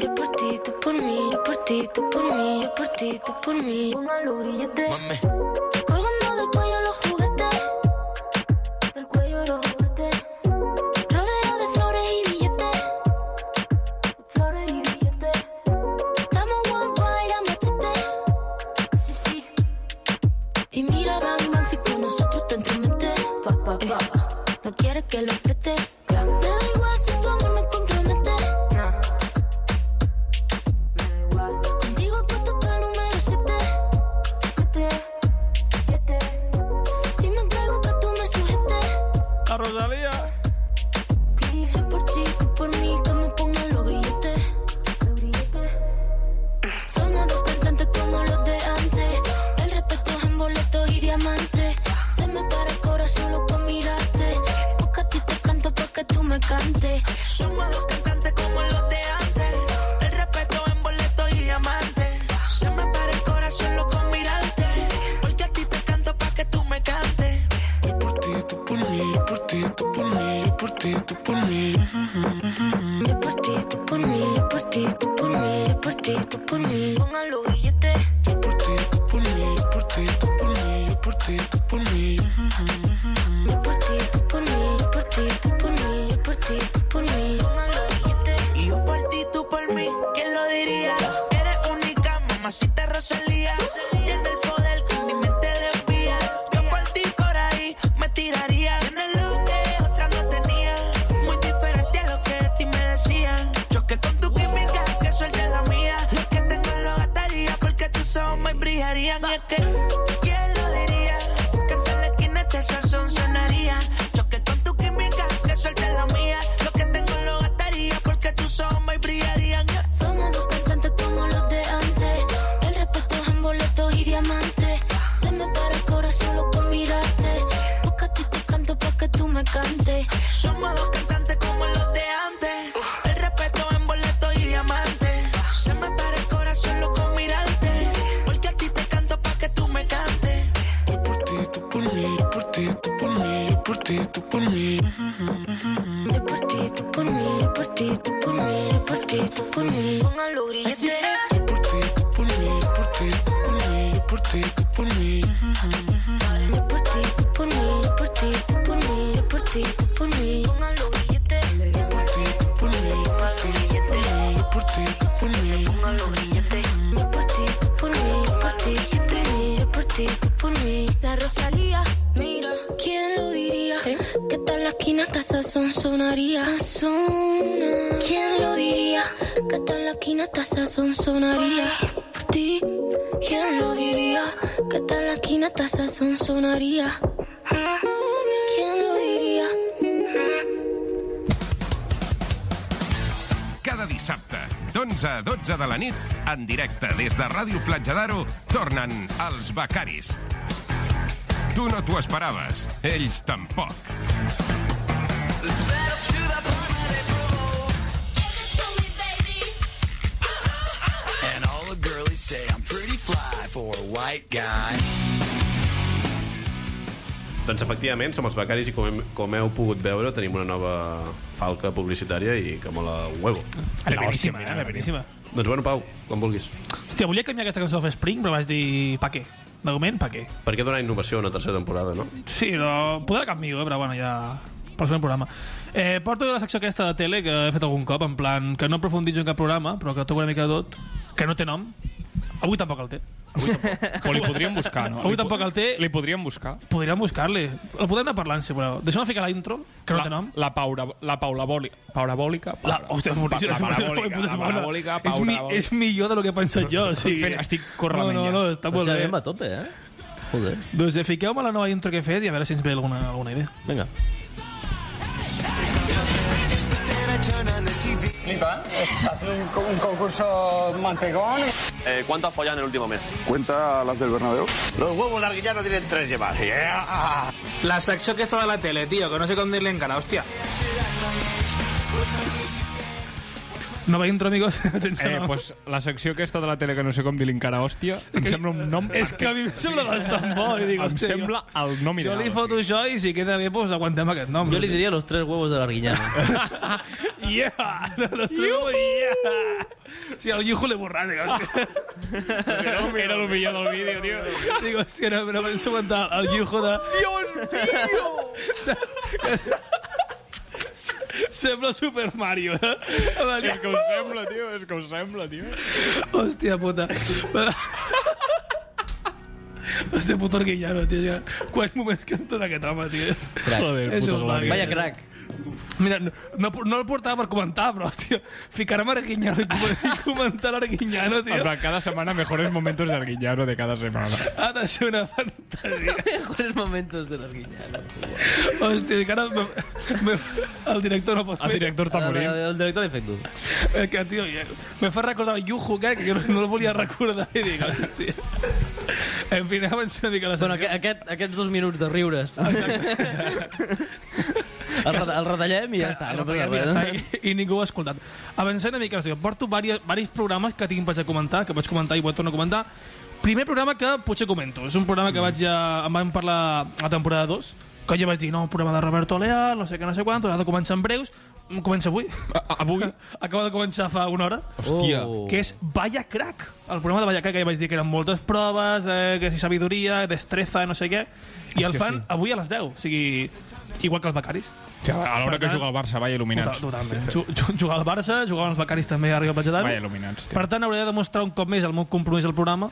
G: Yo por ti, tú por mí, yo por ti, tú por mí, yo por ti, tú por mí. Uno al orillete. Colgando del cuello los juguetes. Del cuello los juguetes. Rodeado de flores y billetes. Flores y billetes. Estamos worldwide a machete. Sí, sí. Y mira, Bang Bang, si con nosotros te entromete. Eh, no quieres que lo preste. Me da igual si tu amor me compromete. Contigo he puesto hasta el número 7. Si me entrego que tú me sujetes.
D: La Rosalia.
G: Yo por ti, tú por mí, que me pongan los grilletes. Somos dos cantantes como los de antes. El respeto es en boletos y diamantes. Se me para el corazón solo con mirarte. Busca a ti te canto pa' que tú me cantes.
H: Somos dos cantantes como los de antes. El respeto en boletos y diamantes. Se me para el corazón loco al mirarte. Porque a ti te canto pa' que tú me cantes.
F: Yo por ti, tú por mí, yo por ti, tú por mí, yo por ti, tú por mí.
G: Yo por ti, tú por mí, yo por ti, tú por mí, yo por ti, tú por mí. Pongan los grilletes.
F: Yo por ti, tú por mí, yo por ti, tú por mí, yo por ti, tú por mí.
G: Yo por ti, tú por mí, yo por ti, tú por mí, yo por ti, tú por mí.
H: Y yo por ti, tú por mí, ¿quién lo diría? Eres única, mamacita Rosalía. Tiene el poder que mi mente desvía. Yo por ti, por ahí, me tiraría. Tienes lo que otra no tenía. Muy diferente a lo que de ti me decían. Choque con tu química, que suelte la mía. Lo que tengo lo gastaría, porque tus ojos me brillarían. querían y es que ¿Quién lo diría? Que en la esquina este sazón sonaría Choque con tu química, que suelte la mía Lo que tengo lo gastaría Porque tus ojos y brillarían
G: Somos dos cantantes como los de antes. El respeto es en boletos y diamantes. Se me para el corazón solo con mirarte. Busca a ti te canto pa' que tú me cantes.
H: Somos dos cantantes como los de antes. El respeto en boleto y diamante. Se me para el corazón loco al mirarte. Porque a ti te canto pa' que tú me cantes.
F: Yo por ti, tú por mí, yo por ti, tú por mí, yo por ti, tú por mí.
G: Yo por ti, tú por mí, yo por ti, tú por mí, yo por ti, tú por mí. Así
F: Yo por ti, tú por mí, yo por ti, tú por mí, yo por ti, tú por mí.
G: Yo por ti, tú por mí, yo por ti, tú por mí, yo por ti, tú
F: Yo por ti, tú
G: por mí.
F: por mí, yo por ti, tú por mí, yo por ti, tú por mí.
G: Yo por ti, tú por mí, yo por ti, tú por mí, yo por ti, tú por mí. La Rosalía, mira, ¿Eh? ¿quién lo diría? Que tal la esquina hasta sazón sonaría. Sazona. ¿Quién lo diría? Que tal la esquina hasta sazón sonaría. Por ti, ¿quién lo diría? Que tal la esquina hasta sazón sonaría. ¿Quién lo diría?
A: Cada dissabte, d'11 a 12 de la nit, en directe des de Ràdio Platja d'Aro, tornen els becaris. Tu no t'ho esperaves, ells tampoc.
I: And all the girlies say I'm pretty fly for a white guy.
B: Doncs efectivament, som els becaris i com, hem, com heu pogut veure tenim una nova falca publicitària i que mola un huevo.
D: Era beníssima, era beníssima.
B: Doncs bueno, Pau, quan vulguis.
D: Hòstia, volia canviar aquesta cançó de Spring, però vaig dir... Pa què? De moment, pa què?
B: Per què donar innovació a una tercera temporada, no?
D: Sí, no, podrà canviar, eh? però bueno, ja... Pel següent programa. Eh, porto la secció aquesta de tele que he fet algun cop, en plan, que no aprofunditzo en cap programa, però que toco una mica de tot, que no té nom. Avui tampoc el té.
E: O li podríem buscar, no? Li
D: Avui
E: po-
D: tampoc el té.
E: Li podríem buscar.
D: Podríem buscar-li. El podem anar parlant, si voleu. Deixeu-me ficar la intro, que no té nom.
E: La, paura, la paulabòlica. Paulabòlica?
D: La, hòstia, és boníssima.
E: La parabòlica. La parabòlica.
D: és, mi,
E: paulabòlica.
D: és millor de lo que he pensat jo. O sigui.
E: Fent- estic corrent
D: No, no,
E: ja.
D: no, està
C: Molt
D: molt
C: bé.
D: Pues bé.
C: Pues a tope, eh? Joder.
D: Doncs eh, fiqueu-me la nova intro que he fet i a veure si ens ve alguna, alguna idea.
C: Vinga.
J: Cuenta las del Bernabéu.
K: La secció aquesta de la tele, tio, que no sé com dir-li encara, hòstia.
D: Nova intro, amigos, sense
E: Eh,
D: nom.
E: pues, la secció aquesta de la tele que no sé com dir-li encara, hòstia, em sembla un nom...
D: És que a mi em sembla bastant bo. I dic,
E: Em
D: hòstia,
E: sembla el nom
D: jo, jo
E: ideal.
D: li
E: o
D: foto això i si queda bé, doncs aguantem aquest nom.
C: Jo li diria los tres huevos de l'Arguinyana.
D: Yeah! Los traigo, yeah! Si al Yuhu le borràs, dic, hòstia.
E: sigui. Era el millor del vídeo, tio.
D: Dic, hòstia, no, no penso mental. El Yuhu de... Dios mío! Sembla Super Mario, eh? Amb el
E: És que ho sembla, tio. És que ho sembla, tio.
D: Hòstia puta. Hòstia, Este puto Arguillano, tio. Ja. Quants moments que ens dona aquest home, tio.
C: Crac.
D: Joder,
E: puto Arguillano.
C: Vaya crack.
D: Mira, no, no, no el portava per comentar, però, hòstia, ficar-me Arguillano i com- i comentar l'Arguinyano,
E: En
D: tio.
E: plan, cada setmana mejores momentos del Guillano de cada setmana.
D: Ah, Ha de ser una fantasia.
C: Mejores momentos de l'Arguinyana.
D: Hòstia, que ara... Me, me, el director no pot
E: El director està
C: El,
E: morint.
C: el director l'he fet dur.
D: Eh, que, tio, ja- me fa recordar el Yuhu, eh, que, que jo no, no el volia recordar. I dic, hòstia. En fi, anem a mencionar una mica la
C: Bueno,
D: secció.
C: aquest, aquest, aquests dos minuts de riures. el, reta- el retallem i ja està.
D: Ah,
C: No eh?
D: no, ja,
C: passa
D: ja
C: res,
D: està,
C: no?
D: i, i ningú ho ha escoltat. Avancem una mica, o sigui, porto diversos programes que tinc pensat comentar, que vaig comentar i vaig tornar a comentar. Primer programa que potser comento, és un programa
C: Mm.
D: que vaig ja, em van parlar a la temporada 2, que jo vaig dir, no, un programa de Roberto Leal, no sé què, no sé quant, ha de començar en breus, Mm, comença avui,
E: Avui?
D: acaba de començar fa una hora,
E: Hòstia.
C: Oh.
D: que és Vaya Crack, el programa de Vaya Crack, que ja vaig dir que eren moltes proves, eh, que si sabidoria, destreza, no sé què, i el
E: Hòstia,
D: fan
E: sí.
D: avui a les 10, o sigui, igual que els becaris.
E: Hòstia, A l'hora que juga el Barça, vaya
D: Total,
E: il·luminats.
D: totalment. Ju- ju- Jugar al Barça, jugaven els becaris també a Rio Platja d'Aro.
E: Vaya il·luminats, tio. Mhm.
D: Per tant, hauré de demostrar un cop més el meu compromís al programa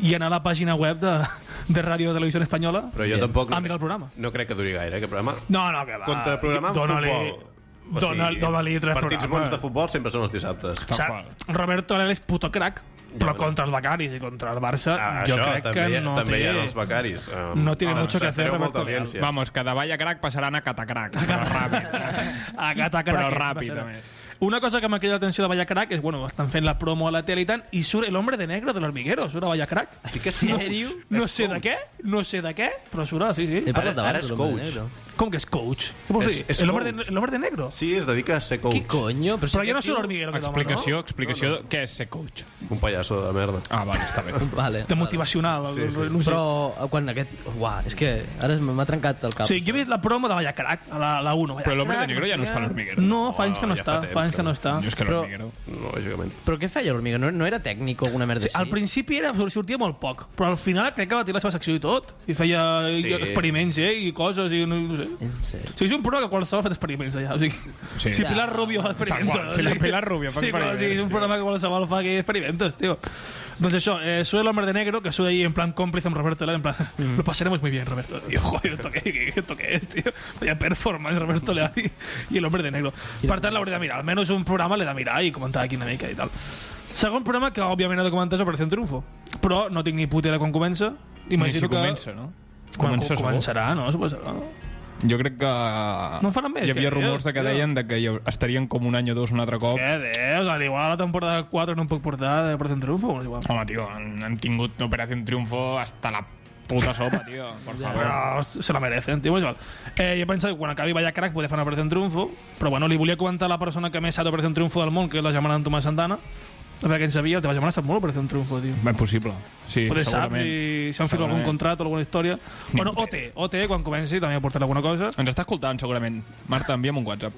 D: i anar a la pàgina web de, de Ràdio Televisió Espanyola
B: Però jo tampoc...
D: a mirar Ah, el programa.
B: No crec que duri gaire, aquest programa.
D: No, no, que va.
B: Contraprogramar amb
D: Dóna-li-
B: futbol. O
D: Dóna-li dóna tres
B: partits
D: programes.
B: bons de futbol sempre són els dissabtes.
D: O
E: Tal
D: sea,
E: qual.
D: Roberto Leal és puto crack. Però contra els becaris i contra el Barça,
B: Ah,
D: jo
B: això,
D: crec
B: també-
D: que no
B: també
D: té...
B: hi ha els becaris. Um,
D: no tiene
B: ah,
D: mucho que
B: se
D: hacer
B: treu
D: Roberto
B: molta
D: Leal.
B: audiència.
E: Vamos, que de Valla Crac passaran a Catacrac. Però ràpid.
D: a Catacrac.
E: Però ràpid, també.
D: Una cosa que m'ha cridat l'atenció de Vallacrac és, bueno, estan fent la promo a la tele i tant, i surt el hombre de negre de l'hormiguero, surt a Vallacrac.
C: Sí que sí.
D: No,
C: Sèrio?
D: no sé de què, no sé de què, però surt, a- sí, sí.
C: He parlat Ara- ara
B: abans és de l'Hombre de coach. Negro.
D: Com que és coach? Què vols
B: És-
D: dir?
B: és
D: El hombre, de,
B: coach.
D: el hombre de negro?
B: Sí, es dedica a ser coach.
D: Qui
C: coño? Però,
D: Però ja no surt l'hormiguero. aquest home,
E: Explicació, explicació. de- Què és ser coach?
B: Un pallasso de merda.
E: Ah, vale, està bé.
C: Vale,
D: De motivacional.
C: Sí, sí.
D: No sé.
C: Però eh, quan aquest... Uah, és que ara m'ha trencat el cap.
D: Sí, jo he vist la promo de Vallacrac, a la, la 1.
C: Però el hombre de
D: Vallacrac,
C: negro
D: no
C: ja
D: sé
C: no està
D: què.
C: a l'Hormiguero.
D: No, fa anys que no
C: Oh, ja
D: està,
C: fa temps
D: fa anys
C: que
D: que
C: no.
D: no està.
C: Jo és que a l'Hormiguero-
B: Lògicament.
C: Però què feia l'hormiga? No, no era tècnic o alguna merda
D: Sí, al principi era, sortia molt poc, però al final crec que va tenir la seva secció i tot. I feia
C: Sí.
D: sí. experiments, eh, i coses, i no, no sé. O sigui, és un programa que qualsevol ha fet experiments allà. O sigui,
E: Sí.
D: sí. Si Pilar Rubio fa experiments...
E: Tal qual, si la Pilar Rubio fa
D: sí,
E: experiments.
D: Sí, és un programa que qualsevol fa que experimentos, tio. Doncs això, eh, sube el hombre de negro, que sube ahí en plan cómplice amb Roberto Leal, en plan,
E: Mm.
D: lo pasaremos muy bien, Roberto. Digo, joder, ¿esto qué, qué- esto qué es, tío? Vaya performance, Roberto Leal y, y el hombre de negro. Per tant, l'hauré de mirar. Almenys un programa l'he de mirar i comentar aquí una mica i tal. Segon programa que, òbviament, he de comentar és Operació Triunfo. Però no tinc ni puta idea quan comença.
E: Ni
D: Imagino
E: si
D: que...
E: comença, no?
D: Quan
E: Comença segur.
D: començarà, no? Suposa, no?
E: Jo crec que...
D: No en faran més,
E: Hi havia
D: què
E: rumors de
D: dius,
E: que
D: tio?
E: deien de que hi hau- estarien com un any o dos un altre cop.
D: Què dius? Al igual la temporada 4 no em puc portar de Operación Triunfo. Bueno, igual.
E: Home, tio, han, han tingut Operación Triunfo hasta la puta sopa, tio. Por favor.
D: Però se la merecen, tio, és igual. Eh, jo penso que quan acabi Valla Crack poder fer una Operación Triunfo, però bueno, li volia comentar a la persona que més sap d'Operación Triunfo del món, que és la Gemma d'en Tomàs Santana, a veure què en sabia, el teva Gemma sap molt Operación Triunfo, tio.
E: Ben possible. Sí,
D: Poder sap
E: segurament.
D: si s'han firmat algun
E: Segurament.
D: contracte o alguna història. bueno, OT, OT, quan comenci també aportarà alguna cosa.
E: Ens està escoltant, segurament. Marta, envia'm un WhatsApp.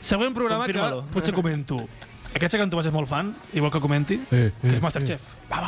D: Següent programa que
E: Confirma-lo.
D: potser comento. Aquest sé que en Tomàs és molt fan i vol que comenti, eh, que és Masterchef. Eh.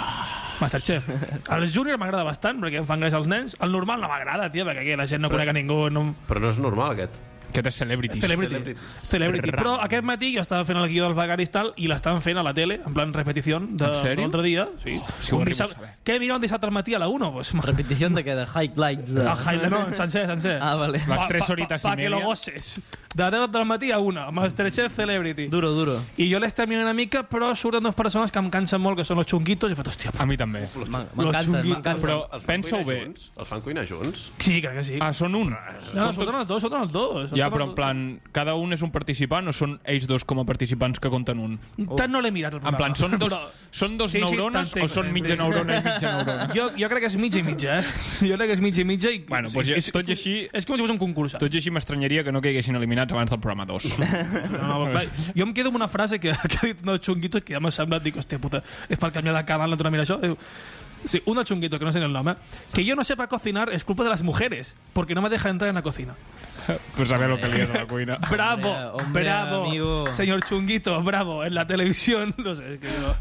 D: Masterchef. El júnior m'agrada bastant perquè em fan gràcia els nens. El normal no m'agrada, tia, perquè aquí la gent no conec a ningú. No...
B: Però no és normal, aquest.
E: Aquest és Celebrities.
D: Celebrity. Celebrity. Però aquest matí jo estava fent el guió dels Vagaris tal i l'estan fent a la tele, en plan repetició de,
E: En sèrio?
D: de l'altre dia. Sí.
E: si ho
D: Un
E: arribo a
D: dissabte- Què mira un dissabte al matí a la 1? Pues,
C: repetició de què? De highlights? De...
D: Ah, highlight, no, sencer, sencer.
C: Ah, vale.
D: Pa- pa- pa- Pa que lo goces. De 10 del matí a 1. Masterchef Celebrity.
C: Duro, duro.
D: I jo les termino una mica, però surten dues persones que em cansen molt, que són los chunguitos, i he fet, hòstia,
E: A mi també. Però pensa-ho bé.
B: Els fan cuinar junts?
D: Sí, crec que sí.
E: Ah, són un.
D: No, no, surten els dos, surten els dos. Em
E: Ja,
D: Surten
E: però
D: els
E: en plan, cada un és un participant o són ells dos com a participants que compten un?
D: dos. Tant no l'he mirat, el
E: En
D: programa.
E: plan, són dos,
D: Però-
E: són dos
D: Sí, sí,
E: neurones
D: t'entenc,
E: o són mitja
D: t'entenc.
E: neurona i mitja neurona?
D: Jo, jo crec que és mitja i mitja, eh? Jo crec que és mitja i mitja i...
E: Bueno, doncs,
D: és,
E: jo- tot i així...
D: És com si fos un concurs.
E: Tot i així m'estranyaria que no caiguessin eliminats abans del programa 2.
D: No, no, va, jo em quedo amb una frase que, que ha dit un dels chunguitos que ja m'ha semblat, dic, hòstia puta, és per canviar de canal, no t'ho mira això. Diu, sí, un dels chunguitos, que no sé ni el nom, eh? Que yo no sepa cocinar es culpa de las mujeres, porque no me deja entrar en la cocina.
E: pues a ver lo que li és a la cuina.
D: Bravo,
C: Ah, hombre,
D: bravo,
C: amigo.
D: señor chunguito, bravo, en la televisión, no sé, és que no,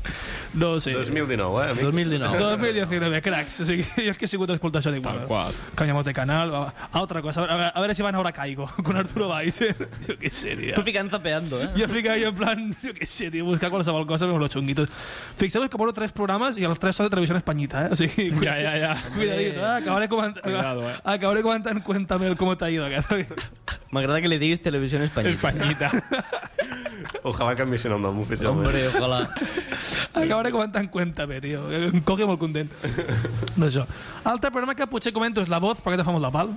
D: no ho sé.
B: 2019, eh, amics?
D: 2019, cracks. O sigui, jo és que he sigut escoltar això, dic, bueno,
E: qual.
D: canviamos de canal, va, va. a otra cosa, a veure, a veure si van ahora caigo, con Arturo Valls. eh? jo què sé, tio.
C: Tu ficant zapeando, eh?
D: Jo ficava jo en plan, jo què sé, tio, buscar qualsevol cosa amb los chunguitos. Fixeu-vos que porto tres programes i els tres són de televisió espanyita, eh? O sigui,
E: Ja, ja, ja.
D: Cuidadito, eh? acabaré comentant,
C: Cuidado, eh.
D: acabaré comentant Cuéntame el cómo te ha ido. Que...
C: M'agrada que li diguis televisió espanyita.
E: Espanyita.
B: Ojalà canviessin el nom oficialment.
C: Hombre, ojalà.
D: acabaré comentant Cuéntame, tio. Em coge molt content. D'això. Altre programa que potser comento és La Voz, perquè te fa molt de pal.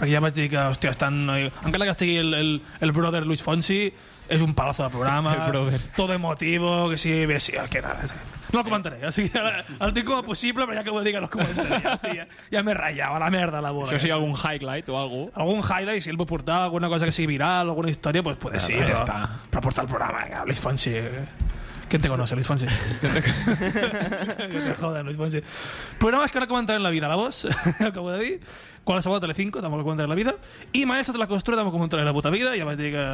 D: Perquè ja vaig dir que, eh, hòstia, estan... Encara que estigui el, el, el brother Luis Fonsi, és un palazo de programa.
E: El brother.
D: Todo emotivo, que sí, bé, sí, que nada. No el comentaré, o sigui, ara el tinc com a possible, però ja que ho dic, no el comentaré. Ja, sí, ja, ja m'he ratllat, a la merda, la eh. boda.
E: Això sigui algun highlight o algú.
D: algun highlight, si el puc portar, alguna cosa que sigui viral, alguna història, pues puede ser.
E: ja
D: però,
E: està.
D: però portar el programa, venga, Luis Fonsi. eh. ¿Quién te conoce, Luis Fonsi? que te jodan, Luis Fonsi. Programes que no he comentat en la vida, La Voz, acabo de dir. Qualsevol de Telecinco, tampoc he comentat en la vida. I Maestros de la Costura, tampoc he comentat en la puta vida. Ja vaig dir que...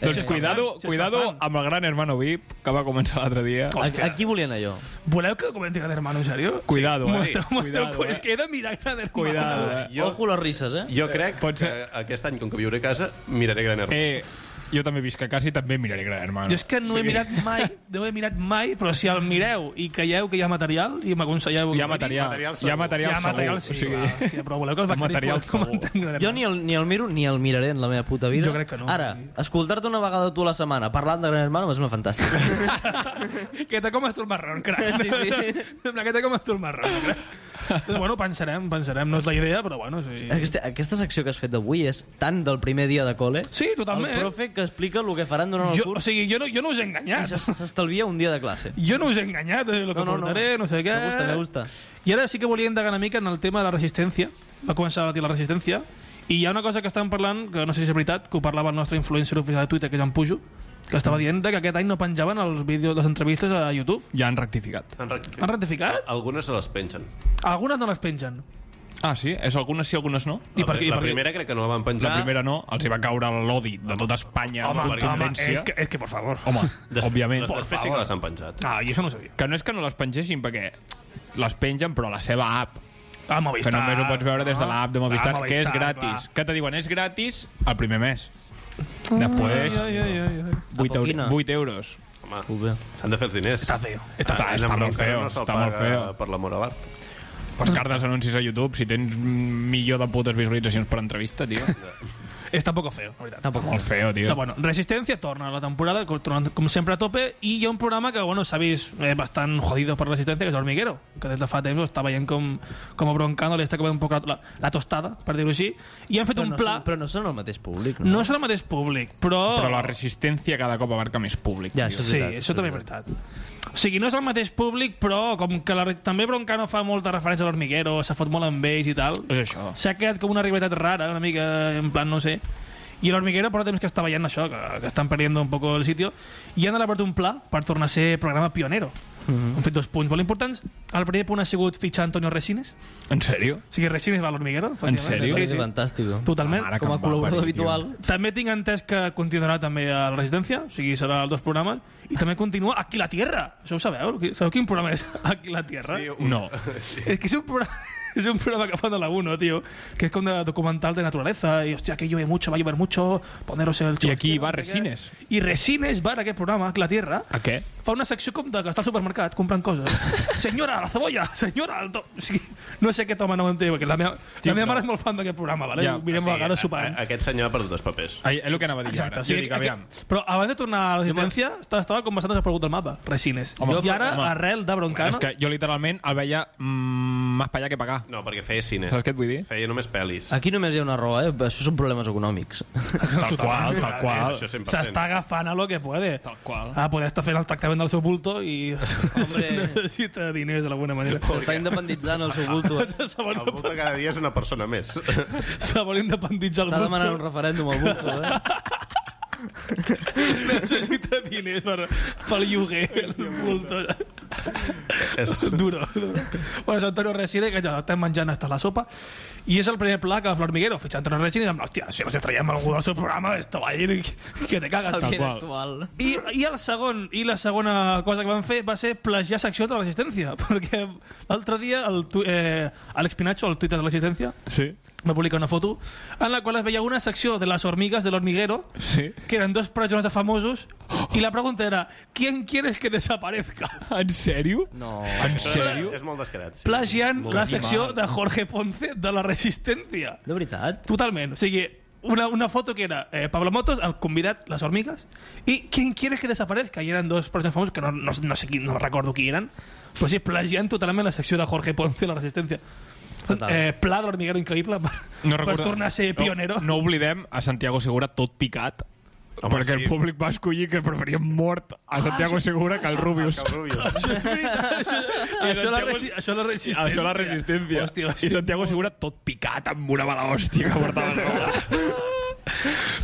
E: Doncs
D: Sí,
E: cuidado,
D: sí, sí,
E: cuidado
D: fan.
E: amb el gran hermano VIP que va començar l'altre dia.
D: Hòstia.
C: Aquí volien allò.
D: Voleu que comenti Gran Hermano, en sèrio?
E: Cuidado, eh?
D: Mostreu, mostreu,
E: Cuidado, eh?
D: és que he de mirar Gran Hermano.
E: Cuidado, eh?
B: Jo-
C: Ojo les risses, eh?
B: Jo crec que aquest any, com que viuré a casa, miraré Gran Hermano.
E: Eh, jo també visc a casa i també miraré Gran Hermano.
D: Jo és que no he mirat mai, no he mirat mai, però si el mireu i creieu que hi ha material i m'aconselleu...
E: Hi ha material, Material segur. hi ha material
D: Hi ha material,
E: segur,
D: sí,
E: o
D: o
E: sigui-
D: sigui... hòstia, però voleu que els
E: Hi ha material
D: material segur.
C: Jo ni el, ni el miro ni el miraré en la meva puta vida.
D: Jo crec que no.
C: Ara, escoltar-te una vegada tu a la setmana parlant de Gran Hermano va ser una fantàstica.
D: Que te comes tu el marrón, crac.
C: Sí, sí.
D: Sembla que te comes tu el marrón, crac. Doncs, bueno, pensarem, pensarem. No és la idea, però bueno, sí.
C: Aquesta, aquesta secció que has fet d'avui és tan del primer dia de col·le...
D: Sí, totalment.
C: El profe que explica el que faran durant el
D: Jo, o
C: curs
D: sigui, jo no, jo no us he
C: i
D: enganyat.
C: s'es- s'estalvia un dia de classe.
D: Jo no us he enganyat, eh, el que
C: No, no, no.
D: portaré, no, sé què.
C: M'agusta, m'agusta.
D: I ara sí que volia indagar una mica en el tema de la resistència. Va començar a batir la resistència. I hi ha una cosa que estan parlant, que no sé si és veritat, que ho parlava el nostre influencer oficial de Twitter, que és en Pujo, que estava dient que aquest any no penjaven els vídeos, les entrevistes a YouTube.
E: Ja han rectificat.
B: Han rectificat.
D: Han rectificat?
B: Algunes se les pengen.
D: Algunes no les pengen.
E: Ah, sí? És algunes sí, algunes no?
D: I per què- i
E: La
D: per què?
E: primera
B: crec que no la van penjar.
E: La primera no, els hi va caure l'odi de tota Espanya amb
D: Home, home,
E: contundència.
D: és que- és que, por favor.
E: Home,
B: Des-
E: òbviament.
B: les- després sí que les han penjat.
D: Ah, i això no ho sabia.
E: Que no és que no les pengessin, perquè les pengen, però a la seva app.
D: A Movistar.
E: Que només ho pots veure des de l'app de
D: Ah,
E: Movistar,
D: Movistar,
E: que és
D: clar.
E: gratis. Que te diuen, és gratis el primer mes. Després,
D: Ai, ai, ai, ai.
E: 8, euro, 8 euros.
B: Home, s'han de fer els diners. Està feo.
E: Està- està molt feo,
B: No se'l
E: està molt
B: paga
E: feo.
B: Per l'amor a l'art.
E: Pues cardes anuncis a YouTube si tens un milió de putes visualitzacions per entrevista, tio.
D: Està poco feo, la veritat.
E: Tampoc molt feo, tio.
D: Però bueno, Resistencia torna a la temporada, com- tornant, com sempre a tope, i hi ha un programa que, bueno, sabéis, eh, bastant jodido per Resistencia, que és Hormiguero, que des de fa temps ho està veient com, com a Broncano li està coment un poc la, la, la tostada, per dir-ho així, i han fet
C: Però
D: un
C: no,
D: pla...
C: són, però no són el mateix públic, no?
D: No és el mateix públic, però...
E: Però la resistència cada cop abarca més públic.
D: Ja,
E: tio.
D: això és veritat, Sí, això també és veritat. O sigui, no és el mateix públic, però com que la, també Broncano fa molta referència a l'Hormiguero, s'ha fot molt amb ells i tal...
E: És això.
D: S'ha quedat com una rivalitat rara, una mica, en plan, no sé. I l'Hormiguero porta temps que està veient això, que, que estan perdent un poc el sitio, i han elaborat un pla per tornar a ser programa pionero. Han fet dos punts molt importants. El primer punt ha sigut fitxar Antonio Resines.
E: En sèrio?
D: O sigui, Resines va a l'Hormiguero. efectivament.
C: Sí,
D: Sí, sí.
C: Fantàstic.
D: Totalment.
C: Mare que Com a em va col·laborador parir, tio. habitual.
D: També tinc entès que continuarà també a la Residència, o sigui, serà els dos programes, i també continua Aquí la Tierra. Això ho sabeu? Qui- Sabeu quin programa és Aquí la Tierra?
B: Sí, un- No.
D: És que és un programa... Es un programa que fan de la 1, tío, que es como de documental de naturaleza. Y hostia, que llueve mucho, va a llover mucho, poneros el
E: I aquí
D: chubasquero,
E: va
D: no sé qué.
E: Resines.
D: I Resines va a aquest programa, Aquí la Tierra,
E: A què?
D: fa una secció com de que està al supermercat comprant coses. senyora, la cebolla! Senyora, el to... o sigui, no sé aquest home no ho entenc, perquè la meva, la meva mare és molt fan d'aquest programa, vale? Ja, mirem sí, a
E: eh,
D: eh? vegades sopant.
B: a- Aquest senyor ha perdut els papers.
E: Ai, és el que anava a dir jo
D: Exacte,
E: ara.
D: o sigui,
E: Jo dic, aviam.
D: aquest, però abans de tornar a la resistència estava, estava com bastant desaparegut del mapa, Resines. Home, I ara, home. arrel de Broncano...
E: Bueno, és que jo literalment el veia mm, més per allà que per acá.
B: No, perquè feia cine.
E: Saps què et vull dir?
B: Feia només pel·lis.
E: Ah,
C: Aquí només hi ha una raó, eh? Això són problemes econòmics.
E: Tal qual, tal qual.
B: Això 100%.
D: S'està agafant a lo que puede. Tal qual. A poder estar fent el tractament del seu bulto i necessita diners d'alguna manera.
C: S'està independitzant el seu bulto. eh?
D: Se vol,
B: El Volta cada dia és una persona més.
D: se vol independitzar el
C: Està demanant un
D: bulto.
C: referèndum al bulto, eh?
D: necessita diners per, pel lloguer, el bulto.
B: és...
D: Duro, duro. Bueno, és Antonio Reside, que ja estem menjant hasta la sopa, i és el primer pla que Flor Miguero fitxa Antonio Reside, i diu, hòstia, si els traiem algú del seu programa, esto va a ir que te cagas.
C: Alguien actual.
D: I, i, el segon, I la segona cosa que van fer va ser plagiar secció de la Resistència, perquè l'altre dia el tu, eh, Alex Pinacho, el Twitter de la Resistència,
E: Sí.
D: va publicar una foto en la qual es veia una secció de les hormigues de l'hormiguero,
E: Sí.
D: que eren dos persones de famosos, i la pregunta era, ¿quién quieres que desaparezca?
E: En sèrio?
C: No.
E: En sèrio?
B: És molt descarat. Sí.
D: Plagiant
B: Molt
D: la
B: mal.
D: secció de Jorge Ponce de la Resistència.
C: De veritat?
D: Totalment. O sigui, una, una foto que era eh, Pablo Motos, el convidat, les hormigues, i ¿Quién quieres que desaparezca? I eren dos persones famosos que no, no, no sé qui, no recordo qui eren, però Pues sí, plagiant totalment la secció de Jorge Ponce de la Resistència.
C: Total.
D: Eh, pla de l'hormiguero increïble per,
E: No
D: per
E: recordo-
D: tornar a ser pionero.
E: No, no oblidem a Santiago Segura tot picat Home, perquè sí.
B: sí.
E: el públic va escollir que preferia mort
D: Ah,
E: a Santiago Segura que al Rubius.
B: Cal Rubius.
D: Això és veritat, això-
E: I
D: Això la
E: Santiago-
D: resi- això la resistència.
E: Això la resistència.
D: Hòstia,
E: I Santiago Segura tot picat amb una bala hòstia que portava el Rubius.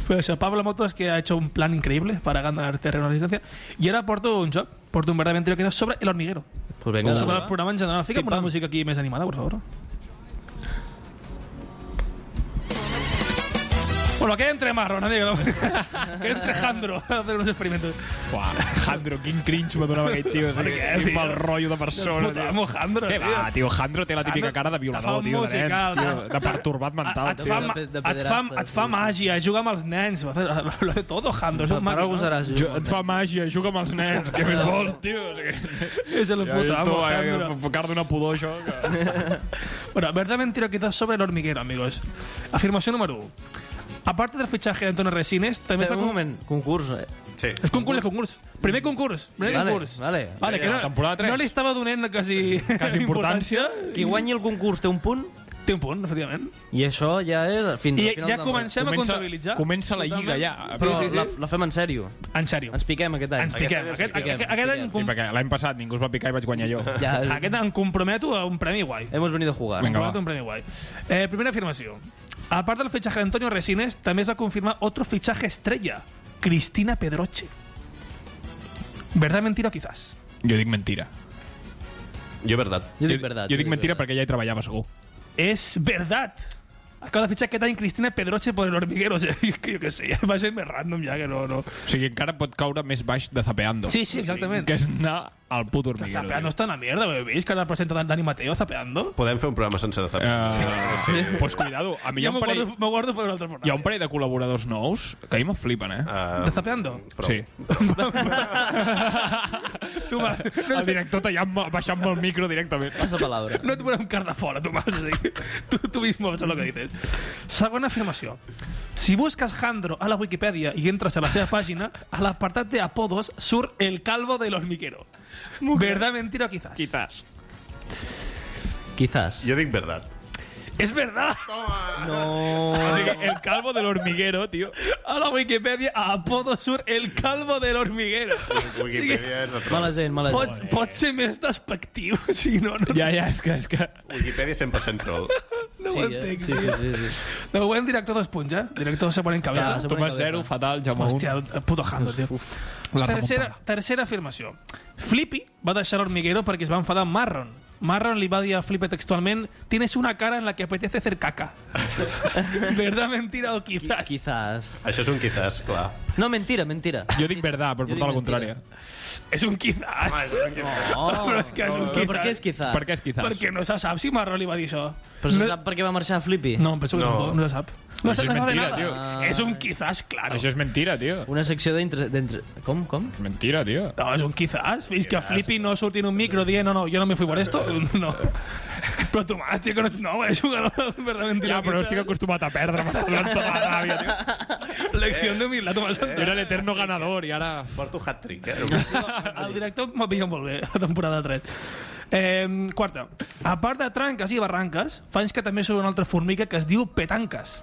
D: Pues eso, Pablo Motos que ha hecho un plan increíble para ganar terreno a la distancia. Y ahora porto un job, porto un verdaderamente lo que es sobre el hormiguero.
C: Pues venga,
D: sobre
C: dale,
D: el
C: va.
D: programa en general. Fíjame una música aquí más animada, por favor. Bueno, que entre marrón, amigo. que entre Jandro a hacer unos experimentos.
E: Buah, Jandro, quin cringe me donava aquell tio.
D: Per què,
E: Quin
D: tio?
E: mal rotllo de persona.
D: Puta, amo Jandro,
E: Què
D: tio.
E: va, tio? Jandro té la típica
D: Jandro
E: cara de
D: te fa
E: violador,
D: un
E: tio, de
D: musical,
E: nens, tio.
D: tio.
E: De perturbat mental,
D: Et
E: tio.
D: fa, ma- et fa, et fa màgia, juga amb els nens. Ho hace- Lo de todo, Jandro. És un
E: Para
D: màquina.
E: algú seràs, jo. Jo- et fa màgia, juga amb els nens. Què més vols, tio?
D: És el
E: Ja,
D: puto
E: i tu,
D: amo,
E: eh,
D: Jandro.
E: em Car d'una pudor, això.
D: Bueno, verdad, mentira, quizás sobre el hormiguero, amigos. Afirmación número 1. Aparte del fichaje de Antonio Resines, también
C: Espera,
D: está
C: un moment, concurs, eh?
B: Sí.
D: Es concurs, es concurs. Primer concurs. Primer
C: Vale,
D: concurs.
C: vale.
D: Vale, que no,
C: La temporada tres.
D: no li estava donant quasi,
C: Quasi importància. Qui guanyi el concurs té un punt?
D: Té un punt, efectivament.
C: I això ja és fins
D: I
C: al final
D: ja
C: del-
D: comencem a Comença- comptabilitzar. comença la lliga, ja.
C: Però
D: Sí, sí, sí.
C: La, la fem en sèrio.
D: En sèrio.
C: Ens piquem aquest any.
D: Ens piquem. Aquest, aquest, aquest, aquest any
E: Sí, perquè l'any passat ningú es va picar i vaig guanyar jo.
D: Ja. Aquest em comprometo a un premi guai.
C: Hemos venido a jugar.
D: Me encanta un premio guay. Eh, primera afirmación. Aparte del fichaje de Antonio Resines, también se ha confirmado otro fichaje estrella. Cristina Pedroche. ¿Verdad, mentira o quizás?
E: Jo dic mentira.
B: Jo verdad.
E: Jo dic verdad. Jo dic mentira perquè ja hi treballava segur.
D: Es verdad. Acaba de fichar que en Cristina Pedroche por el hormiguero. O sea, es que yo qué sé, va a ser más random ya que no. no.
E: O sigui, encara pot caure més baix de zapeando.
D: Sí, sí, exactament.
E: Que és anar al puto hormiguero.
D: Zapeando está en la mierda, ¿ve- ¿veis? Que ahora presenta Dani Mateo zapeando.
B: Podem fer un programa sense de
E: Uh, sí. Pues cuidado, a mi hi
D: Yo
E: ha
D: me
E: un parell,
D: guardo, me guardo por el otro programa.
E: hi ha un parell de col·laboradors nous que a mi me flipen, eh?
D: ¿De zapeando?
E: Sí.
D: tu,
E: el director tallant, baixant-me el micro directament.
C: Passa palabra.
D: No et podem quedar fora, Tomàs. o sigui, Tu, tu mismo saps el que dices. Segona afirmació. Si busques Jandro a la Wikipedia i entres a la seva pàgina, a l'apartat de apodos surt el calvo del hormiguero. ¿Verdad, mentira o quizás?
E: Quizás.
C: Quizás.
B: Jo dic verdad.
D: ¡Es verdad!
C: No.
E: O sigui, el calvo del hormiguero, tio.
D: A la Wikipedia, a apodo surt el calvo del hormiguero.
B: Wikipedia és la troba.
C: Mala gent, mala
D: pot,
C: gent.
D: pot ser més despectiu, si no, no,
E: Ja, ja, és que... És que...
B: Wikipedia 100% troll.
D: no
C: Sí,
D: ho
C: eh?
D: entenc.
C: Sí, sí, sí, sí.
D: De moment, director dos punts, eh? Director se pone en cabeza.
E: Tomàs zero, fatal, Jaume un.
D: Hòstia, el puto Jandro, tio.
E: La
D: tercera, tercera afirmació. Flippy va deixar l'hormiguero perquè es va enfadar amb Marron. Marron li va dir a Flippy textualment «Tienes una cara en la que apetece hacer caca». ¿Verdad, mentira o quizás?
C: Quizás.
B: Això és un quizás, clar.
C: No, mentira, mentira.
E: Jo dic verdad, per portar la contrària.
D: És Ah, un quizás.
C: No,
D: Però és que és un
C: però per què és quizás?
E: Per què és quizás?
D: Perquè no se sap si Marron li va dir això.
C: Però se sap per què va marxar Flippy?
D: No, em penso que
C: No.
D: no, no se sap. No,
E: Això
D: se
E: és
D: no se sabe
E: mentira,
D: nada.
E: tio.
D: És un quizás, claro.
E: Això és mentira, tio.
C: Una secció d'intre... d'intre- Com, com?
E: Mentira, tio.
D: No, és un quizás. Fins que Flippy no surti en un micro dient «No, no, yo no me fui por esto». No. Però Tomàs, tio, que no... No, és un ganador, verdad, mentira
E: Ja,
D: o
E: però
D: quizás.
E: estic acostumat a perdre, m'està donant tota la ràbia, tio.
D: Lección de humildad, Tomás
E: Jo era l'eterno ganador i ara...
B: Porto hat-trick, eh?
D: El director m'ha pillat molt bé, la temporada 3. Eh, quarta. A part de tranques i barranques, fa anys que també surt una altra formiga que es diu petanques.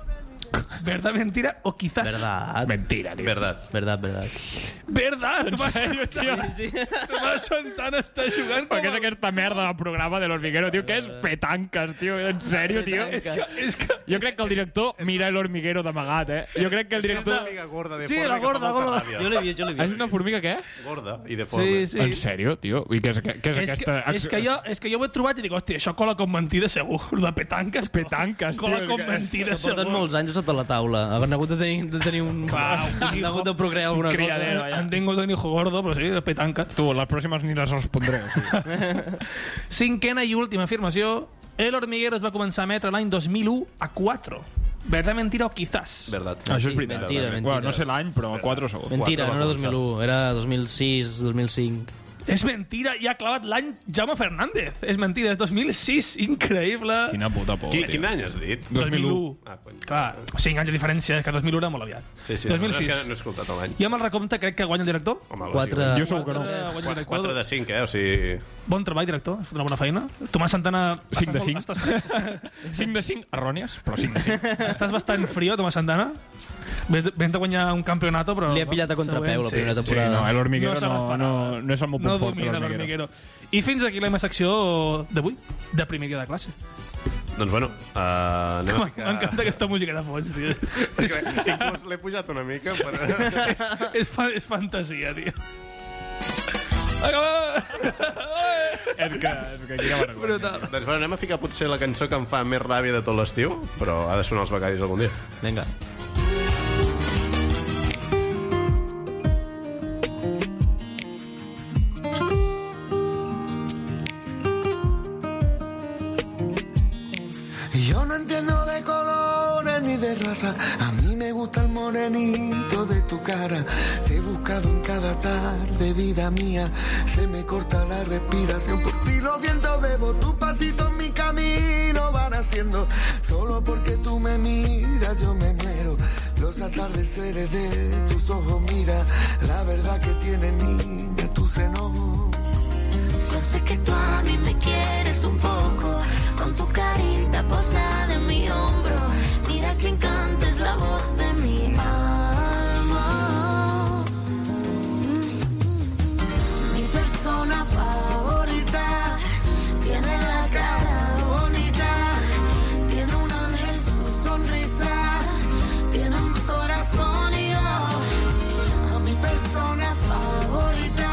D: Verdad, mentira o quizás...
C: Verdad.
E: Mentira, tio.
B: Verdad.
C: Verdad, verdad.
D: Verdad, Tomás Santana. Tomás Santana està jugant
E: Però
D: com...
E: què és
D: el-
E: aquesta merda del programa de l'Hormiguero, tio? Què és petanques, tio? En sèrio, tio?
D: És que, és que...
E: Jo crec que el director mira l'Hormiguero d'amagat, eh? Jo crec que el director...
B: Amiga gorda de
D: Sí,
B: forma
D: la
B: que fa
D: gorda,
B: molta
D: gorda.
B: ràbia.
C: Jo l'he vist, jo l'he
E: És
C: vist.
E: una formiga, què?
B: Gorda i de forma.
D: Sí, sí.
E: En sèrio, tio? I què és, què és
D: És que,
E: aquesta...
D: és, que jo, és que jo ho he trobat i dic, hòstia, això cola com mentida segur. Lo de petanques, cola-
E: Petanques, tio,
D: cola
E: és
D: com
E: que-
D: mentida segur.
C: Porten molts anys sota la taula. Han hagut de tenir, de tenir un...
D: Clar,
B: Ah,
D: un
C: han
D: hijo.
C: hagut de procrear alguna
E: Un
C: cosa.
B: eh?
E: criadero, ja.
D: Han tingut un hijo gordo, però sí, petanca.
E: Tu, les pròximes ni les respondré. o sigui.
D: Cinquena i última afirmació. El hormiguero es va començar a emetre l'any 2001 a 4. Verdad, mentira o quizás?
B: Verdad.
E: Això és
C: Sí,
E: veritat.
C: mentira, mentira.
E: Bueno, no sé l'any, però 4 segur.
C: Mentira, no
B: Quatre
C: era
B: va començar.
C: 2001, era 2006, 2005.
D: És mentira i ha clavat l'any Jaume Fernández. És mentida, és 2006. Increïble.
E: Quina puta por,
B: Qui,
E: tio.
B: quin any has dit?
D: 2001.
B: Ah, cony.
D: Clar, 5 anys de diferència, és que 2001 era molt aviat.
B: Sí,
D: 2006.
B: sí, No, és que no he escoltat l'any.
D: I amb el recompte crec que guanya el director.
B: Home,
C: Quatre...
E: Jo segur que no.
D: Guanya el director.
B: 4 de 5, eh? O sigui...
D: Bon treball, director. Has fet una bona feina. Tomàs Santana...
E: Cinc de
D: estàs
E: cinc.
D: molt- Estàs,
E: 5 de 5, errònies, però 5 de 5.
D: estàs bastant frio, Tomàs Santana. Vens, vens de guanyar un campeonato, però...
C: Li ha pillat a contrapeu la
D: Sí,
C: primera
E: Sí,
C: temporada.
E: no, l'Hormiguero
D: No se
E: no, no, no,
D: l'esperava.
E: no és el meu punt
D: No
E: fort,
D: domina
E: l'Hormiguero.
D: l'hormiguero. I fins aquí la meva secció d'avui, de primer dia de classe.
B: Doncs bueno, uh, anem a ficar...
D: M'encanta aquesta música de fons, tio.
B: És que Inclús l'he pujat una mica, però...
D: és, és, fa- és fantasia, tio. Acaba!
E: És que, és que quina vergonya.
D: Brutal.
B: doncs bueno, anem a ficar potser la cançó que em fa més ràbia de tot l'estiu, però ha de sonar els becaris algun dia.
C: Vinga.
L: pasa. A mí me gusta el morenito de tu cara. Te he buscado en cada tarde, vida mía. Se me corta la respiración. Por ti los vientos bebo, tus pasitos en mi camino van haciendo. Solo porque tú me miras, yo me muero. Los atardeceres de tus ojos, mira la verdad que tiene niña tus enojos.
J: Yo sé que tú a mí me quieres un poco, con tu carita posada en mi hombro. Mira que encanto es la voz de mi alma. Mi persona favorita tiene la cara bonita, tiene un ángel su sonrisa, tiene un corazón y yo, a mi persona favorita.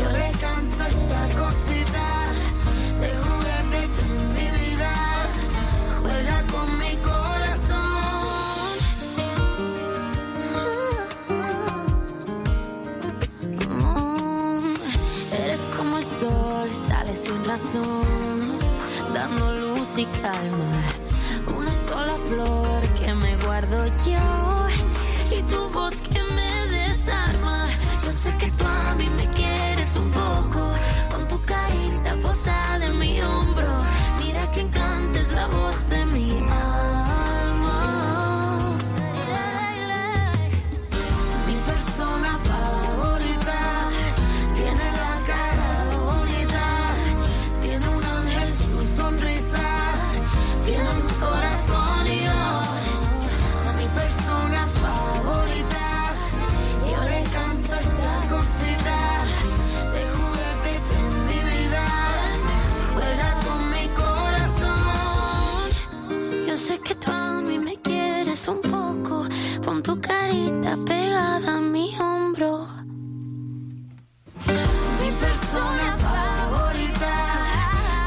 J: Yo le canto esta cosita de juguete que es mi vida. Juega con mi corazón. Mm, Eres como el sol, sale sin razón, dando luz y calma. Una sola flor que me guardo yo y tu voz que me desarma. Yo sé que tú a mí me quieres un poco, con tu carita posada en mi hombro. Mira que encanto es la voz de mi alma. Mi persona favorita tiene la cara bonita, tiene un ángel su sonrisa, tiene un corazón y yo, a mi persona favorita, yo le canto esta cosita de juguete tú en mi vida, juega con mi corazón. Yo sé que tú a mí me quieres un poco, pon tu carita pegada a mi hombro. Mi persona favorita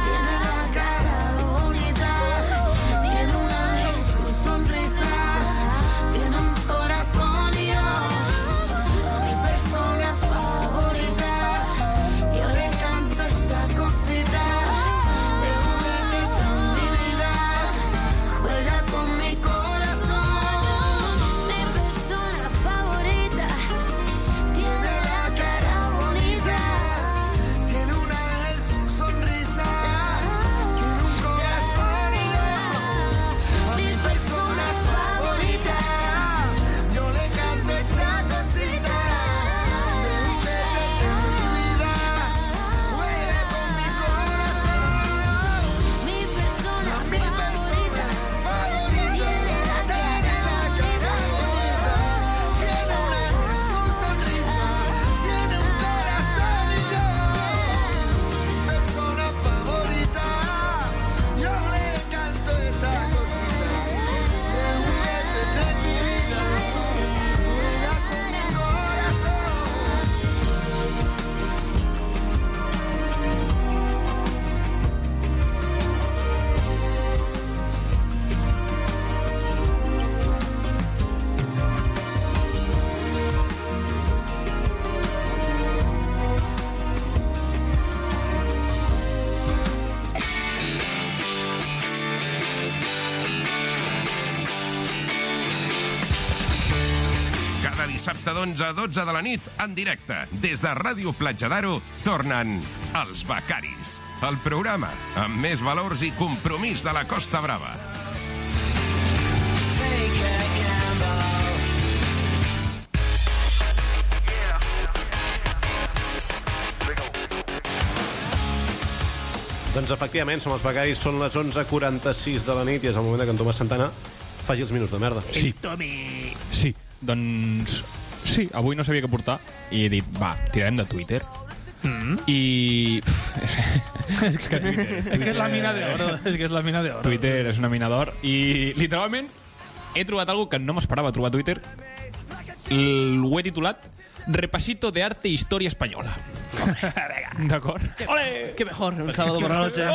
J: tiene la cara bonita, tiene un ángel su sonrisa, tiene un corazón y yo, mi persona favorita, yo le canto esta cosita, de juguete con mi vida, juega con mi corazón, mi persona favorita. Tiene la cara bonita, tiene una su sonrisa, tiene un corazón y mi persona favorita. Yo le canto esta cosita, desde mi vida, juega con mi corazón. Mi persona favorita, tiene la cara bonita.
A: Cada dissabte d'11 a 12 de la nit, en directe, des de Ràdio Platja d'Aro, tornen els Becaris, el programa amb més valors i compromís de la Costa Brava.
B: Doncs efectivament, som els becaris, són les 11.46 de la nit i és el moment de que en Tomàs Santana faci els minuts de merda.
E: Sí. Tommy! Sí, doncs... Sí, avui no sabia què portar i he dit, va, tirarem de Twitter. Mm -hmm. I... Pff, és, és que Twitter...
D: És que és la mina d'oro, és que és la mina d'oro.
E: Twitter és una mina d'or i literalment he trobat algo que no m'esperava trobar a Twitter. L- Ho he titulat Repasito de arte e historia española. D'acord?
C: Ole! Que mejor, un sábado por la noche.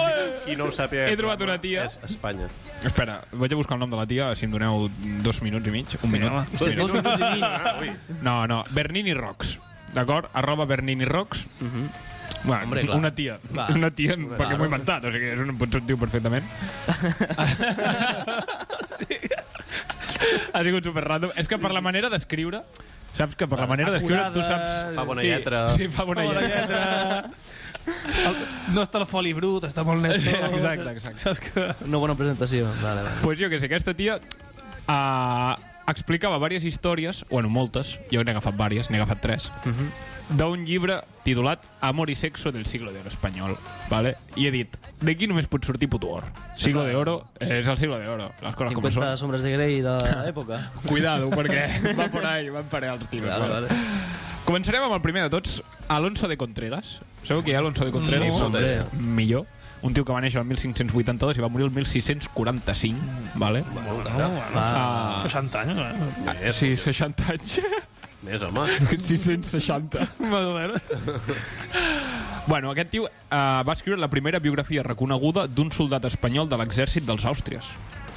B: Qui no ho sàpiga...
E: He trobat una tia...
B: És Espanya.
E: Espera, vaig a buscar el nom de la tia, si em doneu dos minuts i mig. Un
B: Sí,
E: minut.
B: home.
E: un
B: Dos
E: minut.
B: minuts i mig. Ah, ui.
E: No, no, Bernini Rocks. D'acord? Arroba Bernini Rocks. Uh -huh. Bueno,
B: Mhm. Hombre, clar.
E: una tia.
B: Va.
E: Una tia,
B: Clar.
E: perquè m'ho he inventat. O sigui, és un, pot ser un tio perfectament. ha sigut super random. És que per la manera d'escriure, saps que per la manera d'escriure tu saps...
B: Fa bona
E: sí,
B: lletra.
E: Sí, fa bona,
D: Fa bona No està el foli brut, està molt net.
E: Sí, exacte, exacte.
D: Saps que...
C: Una bona presentació. Vale, vale.
E: Pues jo que sé, aquesta tia uh, explicava diverses històries, bueno, moltes, jo n'he agafat diverses, n'he agafat tres, uh -huh. d'un llibre titulat Amor y sexo del siglo de oro espanyol, vale? i he dit, d'aquí només pot sortir puto or. Siglo de oro és el siglo de oro, les coses Ah,
C: 50
E: com són.
C: sombres de Grey de l'època.
E: Cuidado, perquè va por ahí, van per ahí els tiros.
C: Vale,
E: Vale, vale. Començarem amb el primer de tots, Alonso de Contreras. Sabeu qui és Alonso de Contreras?
B: No. Hombre.
E: Millor. Un tio que va néixer el 1582 i va morir el 1645, vale?
D: No,
E: Ah.
D: no, 60 anys, eh?
E: Ah, sí, 60 anys.
B: Més, home.
E: 660.
D: Bueno, bueno.
E: Bueno, aquest tio eh, va escriure la primera biografia reconeguda d'un soldat espanyol de l'exèrcit dels Àustries.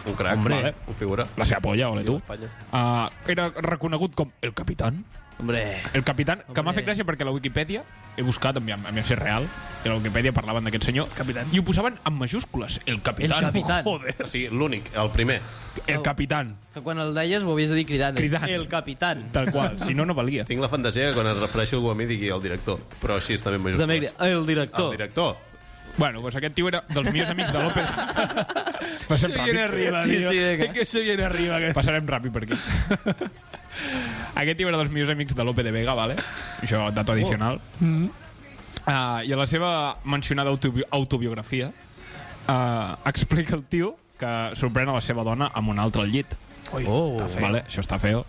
B: Un crac,
E: Hombre.
B: vale. un figura.
E: La seva polla, ole tu.
B: Espanya.
E: Uh, era reconegut com el capitán.
C: Hombre.
E: El capitán, que m'ha fet gràcia perquè a la Wikipedia, he buscat, a mi, a mi ser real, i a la Wikipedia parlaven d'aquest senyor, capitán. i ho posaven en majúscules. El capitán.
C: El capitán.
E: Joder.
B: O sigui, l'únic, el primer.
E: El capitán.
C: Que quan el deies ho havies de dir cridant. eh?
E: Cridant.
C: El capitán.
E: Tal qual. Si no, no valia.
B: Tinc la fantasia que quan es refereixi algú a mi digui el director, però així és també en
C: També
B: majúscules.
C: cri- El
B: El
C: director.
B: director.
E: Bueno, doncs aquest tio era dels millors amics de López.
D: Se
E: Passem ràpid.
D: viene arriba,
C: Sí,
D: tío.
C: sí, venga.
D: Es que se viene arriba. Que...
E: Passarem ràpid per aquí. Aquest tio era dels millors amics de Lope de Vega, vale? Això, dato adicional.
D: Oh. Mm-hmm.
E: Ah, I a la seva mencionada autobi autobiografia ah, explica el tio que sorprèn a la seva dona amb un altre al llit.
D: Ui,
C: Oh.
D: està feo.
E: Vale? Això està feo.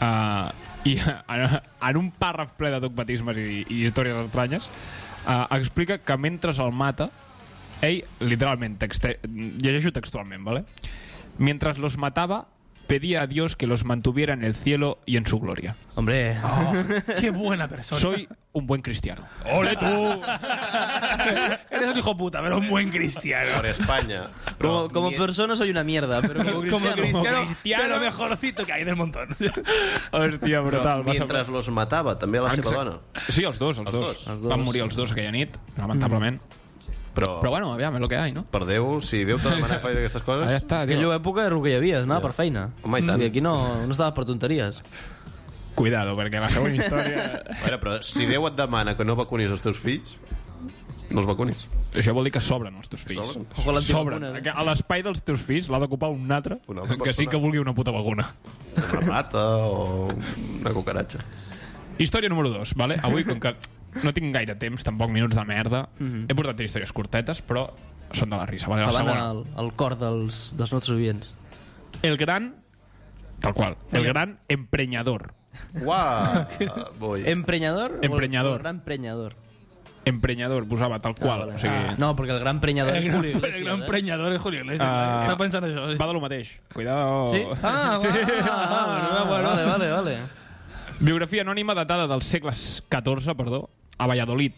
E: Ah, I en, en un pàrraf ple de dogmatismes i, i històries estranyes ah, explica que mentre el mata ell, literalment, texte, llegeixo textualment, vale? Mientras los mataba, pedía a Dios que los mantuviera en el cielo y en su gloria.
C: Hombre.
D: Oh, qué buena persona.
E: Soy un buen cristiano.
D: ¡Ole tú! Eres un hijo puta, pero un buen cristiano.
B: Per Espanya.
C: Como, como
B: ni-
C: persona soy una mierda, pero como
D: Como
C: cristiano.
D: cristiano,
E: cristiano.
D: de lo mejorcito que hay del montón.
E: Hòstia, brutal. va ser-
B: Mientras los matava, també a la seva
E: Exacte.
B: dona.
E: Sí, els dos, els,
B: Els
E: dos.
B: dos. Els
C: dos.
E: Van morir els dos aquella nit, lamentablement.
B: Però,
E: Però bueno, aviam, és el que hi ha, no?
B: per Déu, si Déu t'ha demanat fer aquestes
E: Ah, ja
B: coses...
E: està,
C: Aquella
E: tio.
C: època era el que hi havia, anava per feina.
B: Home, i tant.
C: I aquí no, no estaves per tonteries.
E: Cuidado, perquè la següent història...
B: A veure, però si Déu et demana que no vacunis els teus fills, no els vacunis.
E: Això vol dir que sobren els teus fills.
B: Sobren?
C: Ojalà en tinguin
E: Sobren.
C: alguna.
E: Que A l'espai dels teus fills l'ha d'ocupar un altre
B: Una altra
E: que sí
B: persona.
E: que vulgui una puta vagona.
B: Una rata o una cucaratxa.
E: Història número 2, vale? Avui, com que no tinc gaire temps, tampoc minuts de merda,
C: Mhm.
E: he portat històries curtetes, però són de la risa. Vale? La
C: Avant
E: segona.
C: al, al cor dels, dels nostres oients.
E: El gran... Tal qual. El gran emprenyador.
B: Uà! Boi.
C: Emprenyador? o el-
E: Emprenyador.
C: El gran emprenyador.
E: Emprenyador, posava tal qual.
C: vale.
E: o sigui,
C: Ah, no, perquè el gran emprenyador
D: El
C: és
D: gran,
C: Julio Iglesias.
D: el gran
C: eh?
D: preñador de Julio Iglesias.
E: Ah.
D: Está pensando eso. sí.
E: Va de lo mateix. Cuidado.
C: Sí?
D: Ah, sí.
C: Ah,
D: ah,
C: vale,
D: bueno, bueno.
C: vale, vale.
E: Biografia anònima datada del segle XIV, perdó, a Valladolid.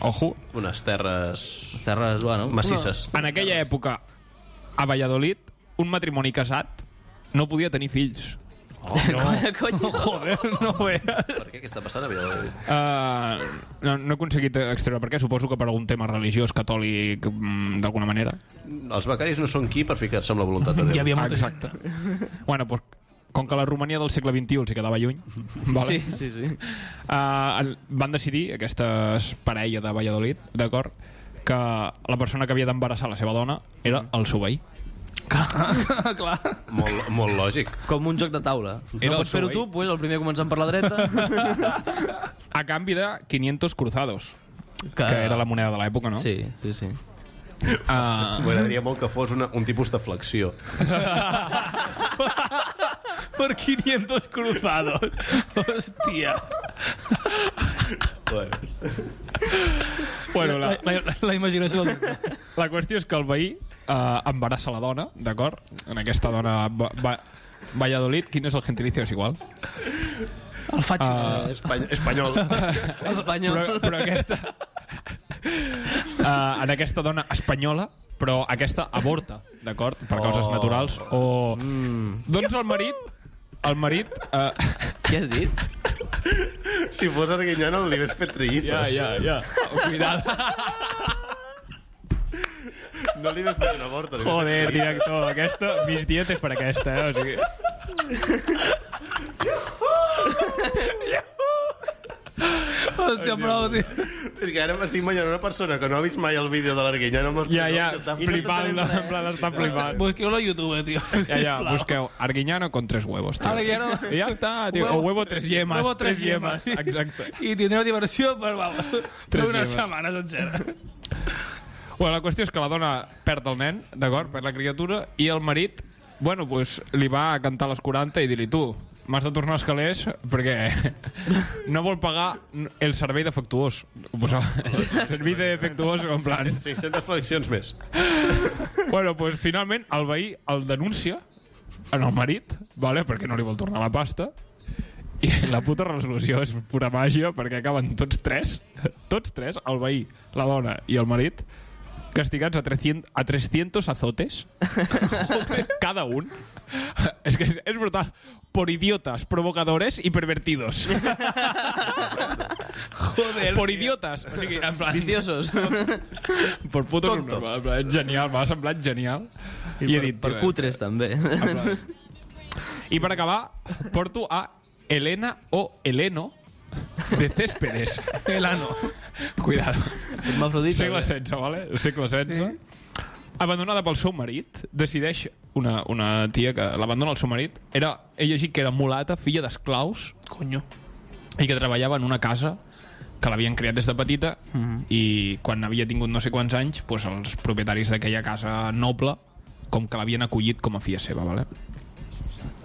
E: Ojo.
B: Unes terres
C: Terres, bueno...
B: macisses.
E: En aquella època, a Valladolid, un matrimoni casat no podia tenir fills.
C: No. Coño.
D: Joder, no veas.
B: Per què? Què està passant a Valladolid?
E: Uh, no, no he aconseguit extreure perquè suposo que per algun tema religiós, catòlic, mm, d'alguna manera.
B: Els becaris no són qui per ficar-se amb la voluntat de Déu.
D: Hi havia molta gent.
E: Exacte. bueno, doncs, com que la Romania del segle XXI els hi quedava lluny, vale?
C: Sí, sí, sí.
E: Uh, el- van decidir, aquestes parella de Valladolid, d'acord, que la persona que havia d'embarassar la seva dona era el seu veí.
D: Clar.
B: Molt, molt lògic.
C: Com un joc de taula.
E: Era
C: no
E: el
C: pots fer-ho
E: Subway.
C: tu, pues, el primer començant per la dreta.
E: A canvi de 500 cruzados, que, que era la moneda de l'època, no?
C: Ah. Sí, sí, sí.
E: Uh,
B: M'agradaria molt que fos una, un tipus de flexió.
D: Por 500 cruzados. Hostia.
B: Bueno,
E: bueno, la,
D: La, la, la imaginació del tio.
E: la qüestió és que el veí uh, embarassa la dona, d'acord? En aquesta dona va, va, Valladolid, quin és el gentilicio? És igual.
D: El faig.
E: Ah.
B: espany espanyol.
C: Espanyol.
E: Però, però aquesta... Uh, en aquesta dona espanyola, però aquesta avorta, d'acord? Per causes
B: Oh.
E: naturals. O... Mm. Doncs el marit... El marit... Uh,
C: Què has dit?
B: Si fos Arguiñano, li hagués fet trillizos.
E: ja. Cuidado.
B: No li havies fet una morta. li
E: Joder,
B: havies fet una morta.
E: director, aquesta... Mis dietes per aquesta, eh? O sigui...
D: Hòstia, prou, tio.
B: És que ara m'estic imaginant una persona que no ha vist mai el vídeo de l'Arguinyano amb els
E: Ja, ja,
B: que està
E: flipant, no en plan, està flipant.
D: Busqueu-lo a YouTube, tio.
E: Ja, ja, busqueu Arguiñano con tres huevos, tio.
D: Arguiñano.
E: I ja està, tio. O huevo tres yemas,
D: Huevo
E: tres, yemas. Exacte.
D: I tindreu diversió per, vamos, per
E: Tres
D: una
E: yemes.
D: setmana sencera.
E: Bueno, la qüestió és que la dona perd el nen, d'acord, per la criatura, i el marit, bueno, pues, li va a cantar a les 40 i dir-li tu, m'has de tornar als calés perquè no vol pagar el servei defectuós. Ho posava. Servei defectuós, en plan...
B: 500 flexions més.
E: Bueno, pues, finalment el veí el denuncia en el marit, vale? perquè no li vol tornar la pasta, i la puta resolució és pura màgia perquè acaben tots tres, tots tres, el veí, la dona i el marit, castigats a 300, a 300 azotes, cada un. És que és, és brutal. Por idiotas, provocadores i pervertidos. Joder. Por idiotas. O sigui, en plan...
C: Viciosos.
E: Por putos normal. en plan, Genial, m'ha semblat genial.
C: I per- per cutres, també.
E: I per acabar, porto a Elena o Eleno de Céspedes.
D: Elano.
E: Cuidado.
C: Hermafrodita,
E: Segle
C: bé.
E: XVI, vale? Segle XVI. Abandonada pel seu marit, decideix una, una tia que l'abandona el seu marit. Era, he llegit que era mulata, filla d'esclaus.
D: Coño.
E: I que treballava en una casa que l'havien creat des de petita Mhm. i quan havia tingut no sé quants anys doncs els propietaris d'aquella casa noble com que l'havien acollit com a filla seva vale?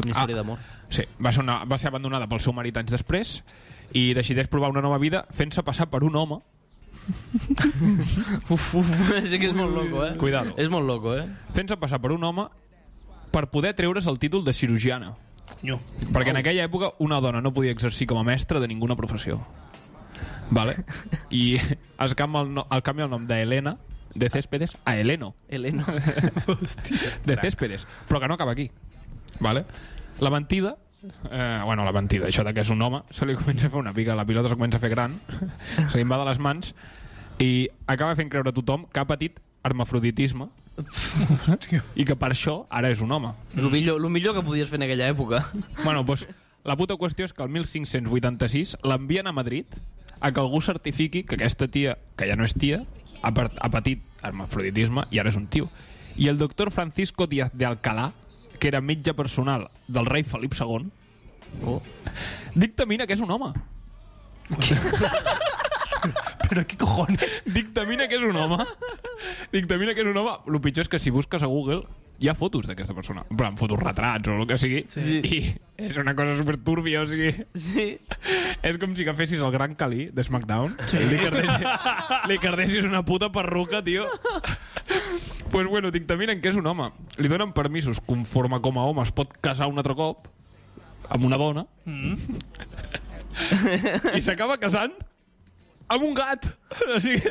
C: Una
D: Ah.
C: història d'amor.
E: Sí, va ser, una, va ser abandonada pel seu marit anys després i decideix provar una nova vida fent-se passar per un home
C: Uf, uf, sí que és molt loco, eh?
E: Cuidado.
C: És molt loco, eh?
E: fent-se passar per un home per poder treure's el títol de cirurgiana
D: No.
E: perquè en aquella època una dona no podia exercir com a mestra de ninguna professió vale? i es canvia el, no, el canvia el nom d'Helena de Céspedes a Heleno
C: Heleno
E: de Céspedes, però que no acaba aquí. Vale? La mentida Eh, bueno, la mentida, això de que és un home se li comença a fer una pica, la pilota se comença a fer gran se li va de les mans i acaba fent creure a tothom que ha patit hermafroditisme i que per això ara és un home
C: Lo millor, lo millor que podies fer en aquella època.
E: bueno, doncs, la puta qüestió és que el 1586 l'envien a Madrid a que algú certifiqui que aquesta tia, que ja no és tia, ha, per- ha patit hermafroditisme i ara és un tio. I el doctor Francisco Díaz de Alcalá, que era metge personal del rei Felip II, oh. dictamina que és un home. Però què cojones? Dictamina que és un home. Dictamina que és un home. El pitjor és que si busques a Google hi ha fotos d'aquesta persona. En plan, fotos retrats o el que sigui. Sí. I és una cosa super turbia, o sigui...
C: Sí.
E: És com si agafessis el gran Cali de SmackDown sí. i li cardessis, li cardessis una puta perruca, tio. pues bueno, dictaminen que és un home. Li donen permisos conforme com a home es pot casar un altre cop amb una dona
D: Mm.
E: i s'acaba casant amb un gat. O sigui...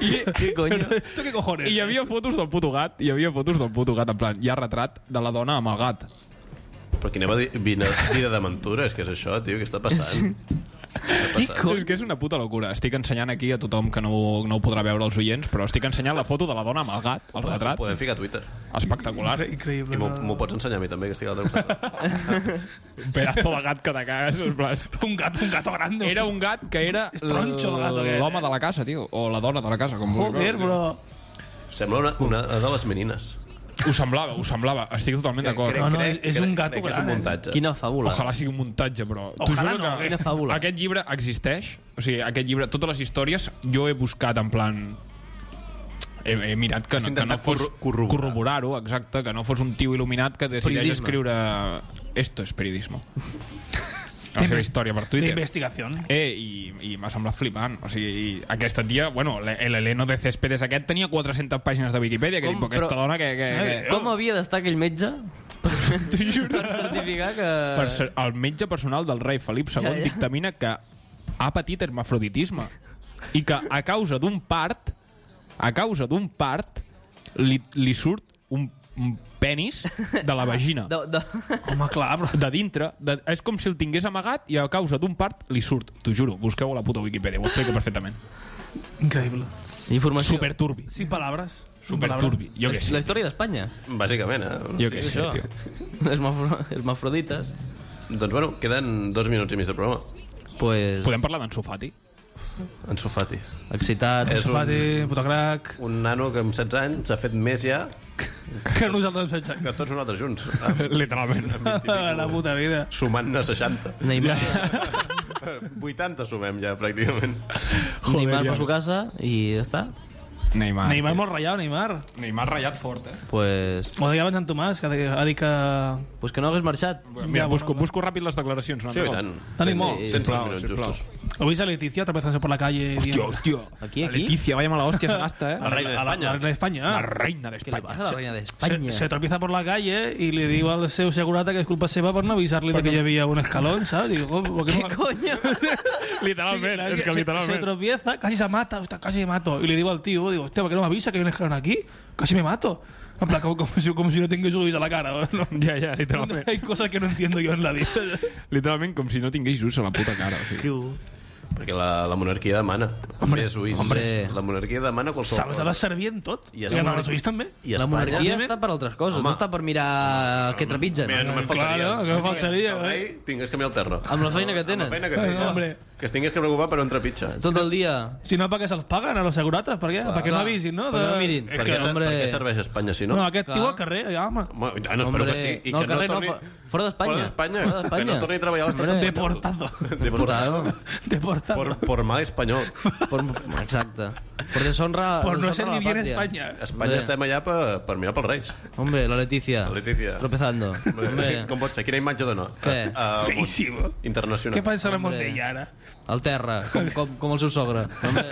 E: I,
D: ¿Qué coño? ¿Esto qué cojones?
E: I hi havia fotos del puto gat, hi havia fotos del puto gat, en plan, hi ha retrat de la dona amb el gat.
B: Però quina vadi- vina- vida d'aventura és que és això, tio, què està passant?
E: És que és una puta locura. Estic ensenyant aquí a tothom que no, no ho podrà veure els oients, però estic ensenyant la foto de la dona amb el gat, el
B: Ho
E: retrat.
B: podem ficar a Twitter.
E: Espectacular.
B: I m'ho m'ho pots ensenyar a mi també, que estic a l'altre costat.
E: Un pedazo de gat que te cagues. en plan.
D: Un gat, un gato grande.
E: Era un gat que era
D: És tronxo, el gato aquest,
E: l'home de la casa, tio, o la dona de la casa, com vulguis.
D: Joder, bro.
B: Sembla una, una de les menines.
E: Ho semblava, ho semblava. Estic totalment d'acord.
B: crec- No, no, crec- és crec- un gato crec que és un gran, eh? muntatge. Quina
C: fàbula.
E: Ojalà sigui un muntatge, però... t'ho
C: Ojalà
E: juro
C: no,
E: que
C: quina fàbula.
E: Aquest llibre existeix. O sigui, aquest llibre, totes les històries, jo he buscat en plan... He, he mirat que
B: Has
E: no, que no
B: intentat
E: fos
B: corro- corroborar.
E: corroborar-ho, exacte, que no fos un tio il·luminat que decideix
D: Periodisme.
E: escriure... Esto es periodismo. La seva història per
D: De
E: Twitter.
D: investigación.
E: Eh, i, i m'ha semblat flipant. O sigui, i aquesta tia, bueno, l- el Heleno de Céspedes aquest tenia 400 pàgines de Wikipedia, que dic, però aquesta dona que... que, que...
C: Com havia d'estar aquell metge
E: T'ho juro.
C: per certificar que...
E: Per ser, el metge personal del rei Felip II
C: Ja,
E: ja,
C: ja.
E: ja. dictamina que ha patit hermafroditisme i que a causa d'un part a causa d'un part li, li surt un un penis de la vagina.
C: De, de...
E: Home, clar, però... De dintre. De... És com si el tingués amagat i a causa d'un part li surt. T'ho juro, busqueu a la puta Wikipedia, ho explica perfectament.
D: Increíble.
E: Ah,
C: Informació.
E: Superturbi.
D: Sin palabras.
E: Superturbi. Jo què
C: La-
E: sé.
C: La història d'Espanya.
B: Bàsicament, eh?
E: Jo què sé, tio.
C: Esmafro... Esmafrodites.
B: Doncs bueno, queden dos minuts i mig de programa.
C: Pues...
E: Podem parlar d'en Sofati?
B: En Sofati.
C: Excitat.
B: És un-
D: Sofati, putacrac.
B: Un nano que amb 16 anys ha fet més ja...
D: Que nosaltres amb 16 anys.
B: Que tots nosaltres junts.
E: Literalment.
D: La puta vida.
B: Sumant-ne 60.
C: Neymar.
B: 80 sumem ja, pràcticament.
C: Joder, Neymar per su casa i ja està.
E: Neymar.
D: Neymar molt ratllat, Neymar.
E: Neymar ratllat fort, eh?
C: Pues...
D: Ho deia abans en Tomàs, que ha dit que...
C: Pues que no hagués marxat.
E: Mira, busco, busco ràpid les declaracions. un
D: Sí,
E: altre
D: i
E: cop.
D: tant. Tenim molt.
E: Eh,
D: 100
E: sisplau,
D: minuts
E: sisplau.
D: Ho veus a Leticia atrapezándose por la calle.
E: Hòstia,
D: dient-
E: hòstia. Aquí, aquí. Leticia, vaya mala hòstia se gasta, eh?
D: A a la- a La reina de España.
E: La reina de España.
D: Se, se tropieza por la calle y le digo al seu segurata que es culpa seva por no avisarle de que ya había un escalón, ¿sabes? Digo, "Jo, ¿por qué, no-"
C: coño?
E: literalment, és que
D: se, se
E: literalment.
D: tropieza, casi se mata, hostia, casi me mato. Y le digo al tío, digo, hostia, ¿por qué no me avisa que hay un escalón aquí? Casi me mato. En plan, como, como si, como si no tengo eso a la cara. ¿no?
E: Ja, ja, literalment.
D: Hay cosas que no entiendo yo en la vida.
E: Literalment com si no tingués just a la puta cara. O sigui.
B: Perquè la, la monarquia demana. Hombre, és Suís. Hombre. La monarquia demana qualsevol
D: Saps, ha de servir en tot.
B: I
D: I,
B: a
D: en
B: Espanya-
D: els ulls també.
B: I a
C: La
B: Espanya-
C: monarquia
B: Òbviament.
C: està per altres coses,
B: Home.
C: no està per mirar què trepitgen.
B: Mira, només faltaria.
D: Claro, que faltaria,
B: El rei tingués que mirar el terra.
C: eh? Amb la feina que tenen.
B: Amb la feina que
D: Eh,
B: tenen.
D: hombre.
B: Que es tingués que preocupar per on trepitja.
C: Tot el dia.
D: Si no, perquè se'ls paguen a les segurates, per què?
B: Clar.
D: perquè no
B: Clar.
D: avisin, no?
C: Perquè no mirin.
B: Per què,
D: que,
B: hombre...
D: hombre...
B: per què serveix Espanya, si no?
D: No, aquest tio al carrer, ja, home.
B: Home, ja no,
C: Hombre,
B: espero que sí. I
C: no,
B: que
C: al carrer
B: no
C: no,
B: torni...
C: fo- fora d'Espanya.
B: Fora d'Espanya.
C: Fora d'Espanya.
B: Que no torni a treballar a l'estat
C: Hombre.
B: espanyol.
D: Deportado.
B: Deportado.
D: Deportado.
B: Por, por mal espanyol.
C: Por, exacte. Por deshonra...
D: Por no
C: deshonra
D: ser
C: la
D: ni bien
C: patria.
D: España.
B: Espanya estem allà per, per mirar pels reis.
C: Hombre, la Leticia.
B: Letícia.
C: Tropezando. Hombre,
B: Com pot ser? Quina imatge dona?
C: Què?
B: Ah, bon.
D: Feísimo.
B: Internacional.
D: Què pensarem
C: Hombre.
D: d'ella ara?
C: al terra, com, com, com el seu sogre. Hombre,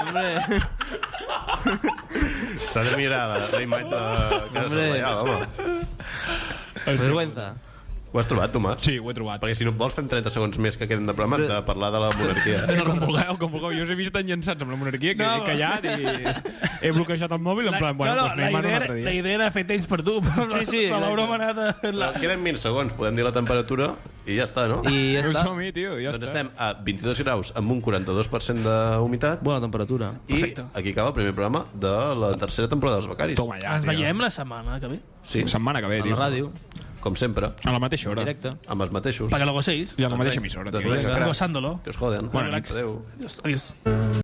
C: hombre,
B: S'ha de mirar la, la imatge de Casa
C: Hombre.
B: Reial, home.
C: vergüenza.
B: Ho has trobat, Tomàs?
E: Sí, ho he trobat.
B: Perquè si no et vols fem 30 segons més que queden de programa de parlar de la monarquia.
E: Com vulgueu, com vulgueu. Jo us he vist tan llançats amb la monarquia que,
D: No,
E: que ja dic, he bloquejat el mòbil en plan, bueno,
D: no, no,
E: doncs
D: la,
E: anem a un
D: idea,
E: altre
D: la
E: dia.
D: idea era fer temps per tu, però,
C: Sí, sí,
D: però la
C: exacte.
D: broma ha anat... a- La...
B: Queden 20 segons, podem dir la temperatura i ja està, no?
C: I ja
E: Un
C: està.
E: som-hi, tio, ja
B: doncs
E: està.
B: estem a 22 graus amb un 42% d'humitat
C: Bona temperatura.
B: i aquí acaba el primer programa de la tercera temporada dels Becaris.
E: Toma eh. ja,
D: Ens
E: tio.
D: veiem la setmana que ve,
B: Sí,
E: Setmana que ve,
C: A
E: tio.
C: la ràdio,
B: com sempre,
E: A la mateixa hora.
C: directe.
B: amb els mateixos.
D: perquè luego seguís.
E: I a la mateixa emissora,
B: Doncs
E: tio.
B: vinga,
D: Gosándolo.
B: Que us joden.
E: Bueno,
B: Adéu.
D: Adiós.